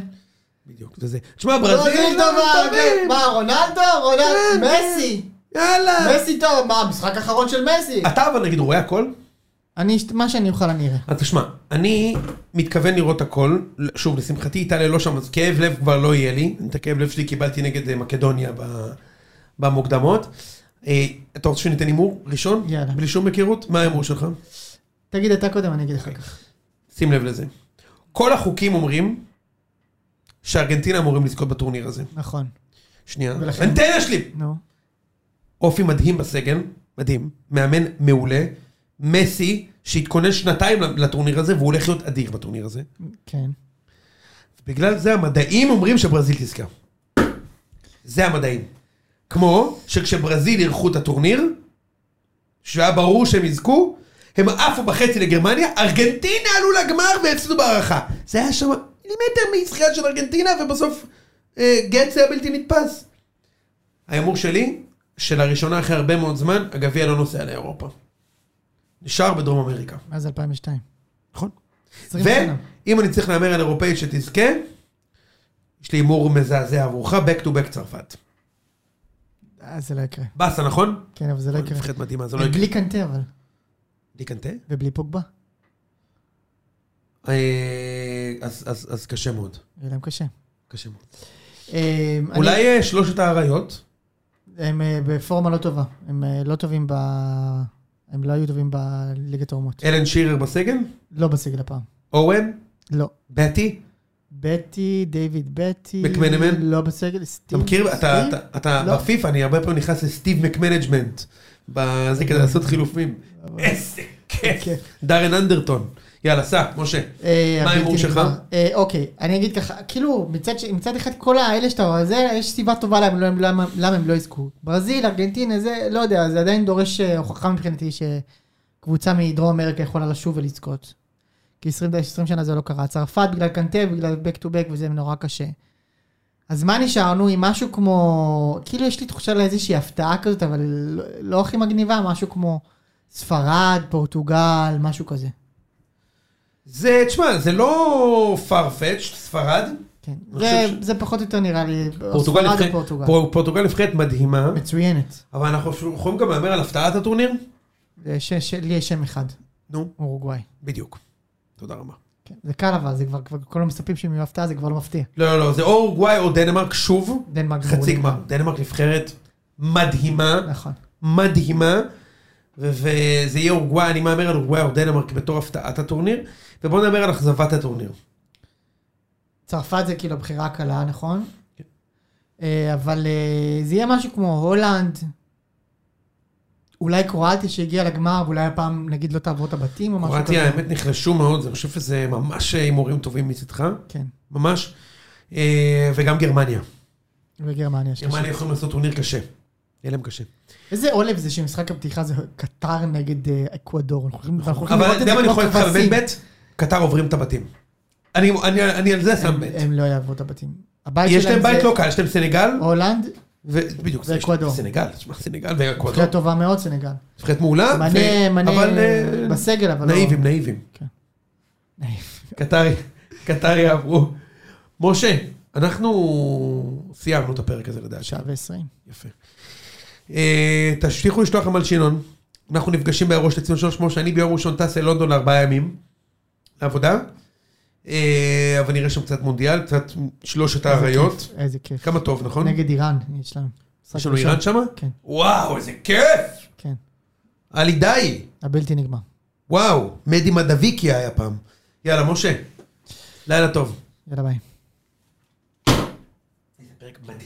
בדיוק, זה זה. תשמע,
ברזיל
ברזיל
טובה,
טובים!
מה, רונלדו?
כן,
רונלדו,
לא כן.
מסי!
יאללה!
מסי טוב, מה, המשחק האחרון של
*laughs*
מסי?
אתה אבל נגיד רואה הכל?
אני, אשת- מה שאני אוכל אני אראה.
אז תשמע, אני מתכוון לראות הכל, שוב, לשמחתי איטליה לא שם, אז כאב לב כבר לא יהיה לי, את הכאב לב שלי קיבלתי נגד אה, מקדוניה ב- במוקדמות. אה, אתה רוצה שניתן הימור ראשון?
יאללה.
בלי שום היכרות? מה ההימור שלך?
תגיד אתה קודם, אני אגיד אחר
אוקיי.
כך.
שים לב לזה. כל החוקים אומרים שארגנטינה אמורים לזכות בטורניר הזה.
נכון,
שנייה.
ולכן?
אנטנה שלי!
נו.
אופי מדהים בסגל, מדהים, מאמן מעולה, מסי, שהתכונן שנתיים לטורניר הזה, והוא הולך להיות אדיר בטורניר הזה.
כן.
בגלל זה המדעים אומרים שברזיל תזכה. זה המדעים. כמו שכשברזיל אירחו את הטורניר, שהיה ברור שהם יזכו, הם עפו בחצי לגרמניה, ארגנטינה עלו לגמר והפסידו בהערכה. זה היה שם מילימטר מישראל של ארגנטינה, ובסוף אה, גץ היה בלתי נתפס. ההימור שלי, שלראשונה אחרי הרבה מאוד זמן, הגביע לא נוסע לאירופה. נשאר בדרום אמריקה.
מאז 2002.
נכון.
20 שנה.
ואם אני צריך להמר על אירופאית שתזכה, יש לי הימור מזעזע עבורך, back to back צרפת.
אה, זה לא יקרה.
באסה, נכון?
כן, אבל זה לא יקרה.
נבחרת מדהימה, זה לא יקרה.
בלי קנטה אבל,
דיקנטה?
ובלי פוגבה.
אה, אז- אז אז קשה מאוד.
יהיה להם קשה.
קשה מאוד.
אה, אני-
אולי אה, שלושת האריות?
הם אה, בפורמה לא טובה. הם אה, לא טובים ב... הם לא היו טובים בליגת האומות.
אה. אלן שירר בסגל?
לא בסגל הפעם.
אורן?
לא.
בטי?
בטי, דיוויד בטי.
מקמנמן?
לא בסגל,
אתה
סטיב.
מכיר? אתה-
סטיב?
אתה- אתה
לא.
בפיפא, אני הרבה פעמים נכנס לסטיב מקמנג'מנט. בזה כדי לעשות חילופים. איזה כיף.
כן.
דארן אנדרטון. יאללה, סע, משה.
אה,
מה
הבלתי
ההימור שלך?
נגמר. אה, אוקיי, אני אגיד ככה, כאילו, מצד, ש- מצד אחד כל האלה שאתה רואה, זה, יש סיבה טובה להם, למה, למה, למה הם לא יזכו. ברזיל, ארגנטינה, זה, לא יודע, זה עדיין דורש אה, הוכחה מבחינתי שקבוצה מדרום אמריקה יכולה לשוב ולזכות. כי 20, 20 שנה זה לא קרה. צרפת בגלל קנטה, בגלל back to back, וזה נורא קשה. אז מה נשארנו עם משהו כמו, כאילו יש לי תחושה לאיזושהי הפתעה כזאת, אבל לא, לא הכי מגניבה, משהו כמו ספרד, פורטוגל, משהו כזה.
זה, תשמע, זה לא farfetched, ספרד.
כן,
אני
זה,
חושב
זה פחות או יותר נראה לי,
פורטוגל
ספרד
נבחרת-
ופורטוגל.
פור- פורטוגל נבחרת מדהימה,
מצוינת.
אבל אנחנו יכולים גם להמר על הפתעת הטורניר?
זה ש- ש- לי יש שם אחד,
נו,
אורוגוואי.
בדיוק. תודה רבה.
כן, זה קל אבל, זה כבר, כבר כולם מספים שהם יהיו הפתעה, זה כבר לא מפתיע.
לא, לא, לא, זה או אורוגוואי או דנמרק שוב,
דנמרק.
חצי
מורידים.
גמר. דנמרק נבחרת מדהימה,
נכון.
מדהימה, ו- וזה יהיה אורוגוואי, אני מהמר על אורוגוואי או דנמרק בתור הפתעת הטורניר, ובואו נאמר על אכזבת הטורניר.
צרפת זה כאילו הבחירה הקלה, נכון?
כן.
אה, אבל אה, זה יהיה משהו כמו הולנד, אולי קרואטיה שהגיעה לגמר, ואולי הפעם נגיד לא תעבור את הבתים או משהו כזה.
קרואטיה, האמת, נחלשו מאוד, אני חושב שזה ממש אה, הימורים טובים מצדך,
כן,
ממש. אה, וגם גרמניה.
וגרמניה שלישית.
גרמניה יכולים לעשות טורניר קשה. יהיה להם קשה.
איזה עולב זה שמשחק הפתיחה זה קטר נגד אה, אקוודור. אנחנו הולכים אנחנו הולכים
אבל
לראות
אתה יודע מה אני יכול
את זה כמו
להגיד לך
כבשים.
בבית בית? קטר עוברים את הבתים. אני- אני אני על זה שם
הם-
בית.
הם לא יעברו את הבתים. הבית
יש
שלהם
להם בית
זה
לא קל, יש להם סנגל,
הולנד,
ו- בדיוק, זה-
אה, ואקוודור.
סנגל, תשמע, סנגל ואקוודור.
בחירה טובה מאוד סנגל.
נבחרת מעולה, ו-
מנה, מנה
אבל אה,
בסגל, אבל לא...
נאיבים, נאיבים.
נאיב.
קטר- קטר יעברו. משה, אנחנו סיימנו את הפרק הזה לדעתי.
שעה ועשרים.
יפה. אה, תשליכו לשלוח המלשינון. אנחנו נפגשים באירוש לציון שלוש משה, אני ביום ראשון טס ללונדון לארבעה ימים. לעבודה. אה, אבל נראה שם קצת מונדיאל, קצת שלושת האריות.
כן, איזה כיף.
כמה טוב, נכון?
נגד איראן, יש להם.
יש
משחק
לנו
ראשון.
איראן שמה?
כן.
וואו, איזה כיף!
כן.
עלי די!
הבלתי נגמר.
וואו, מדי מדביקיה היה פעם. יאללה, משה. לילה טוב.
יאללה ביי.
איזה פרק מדהים.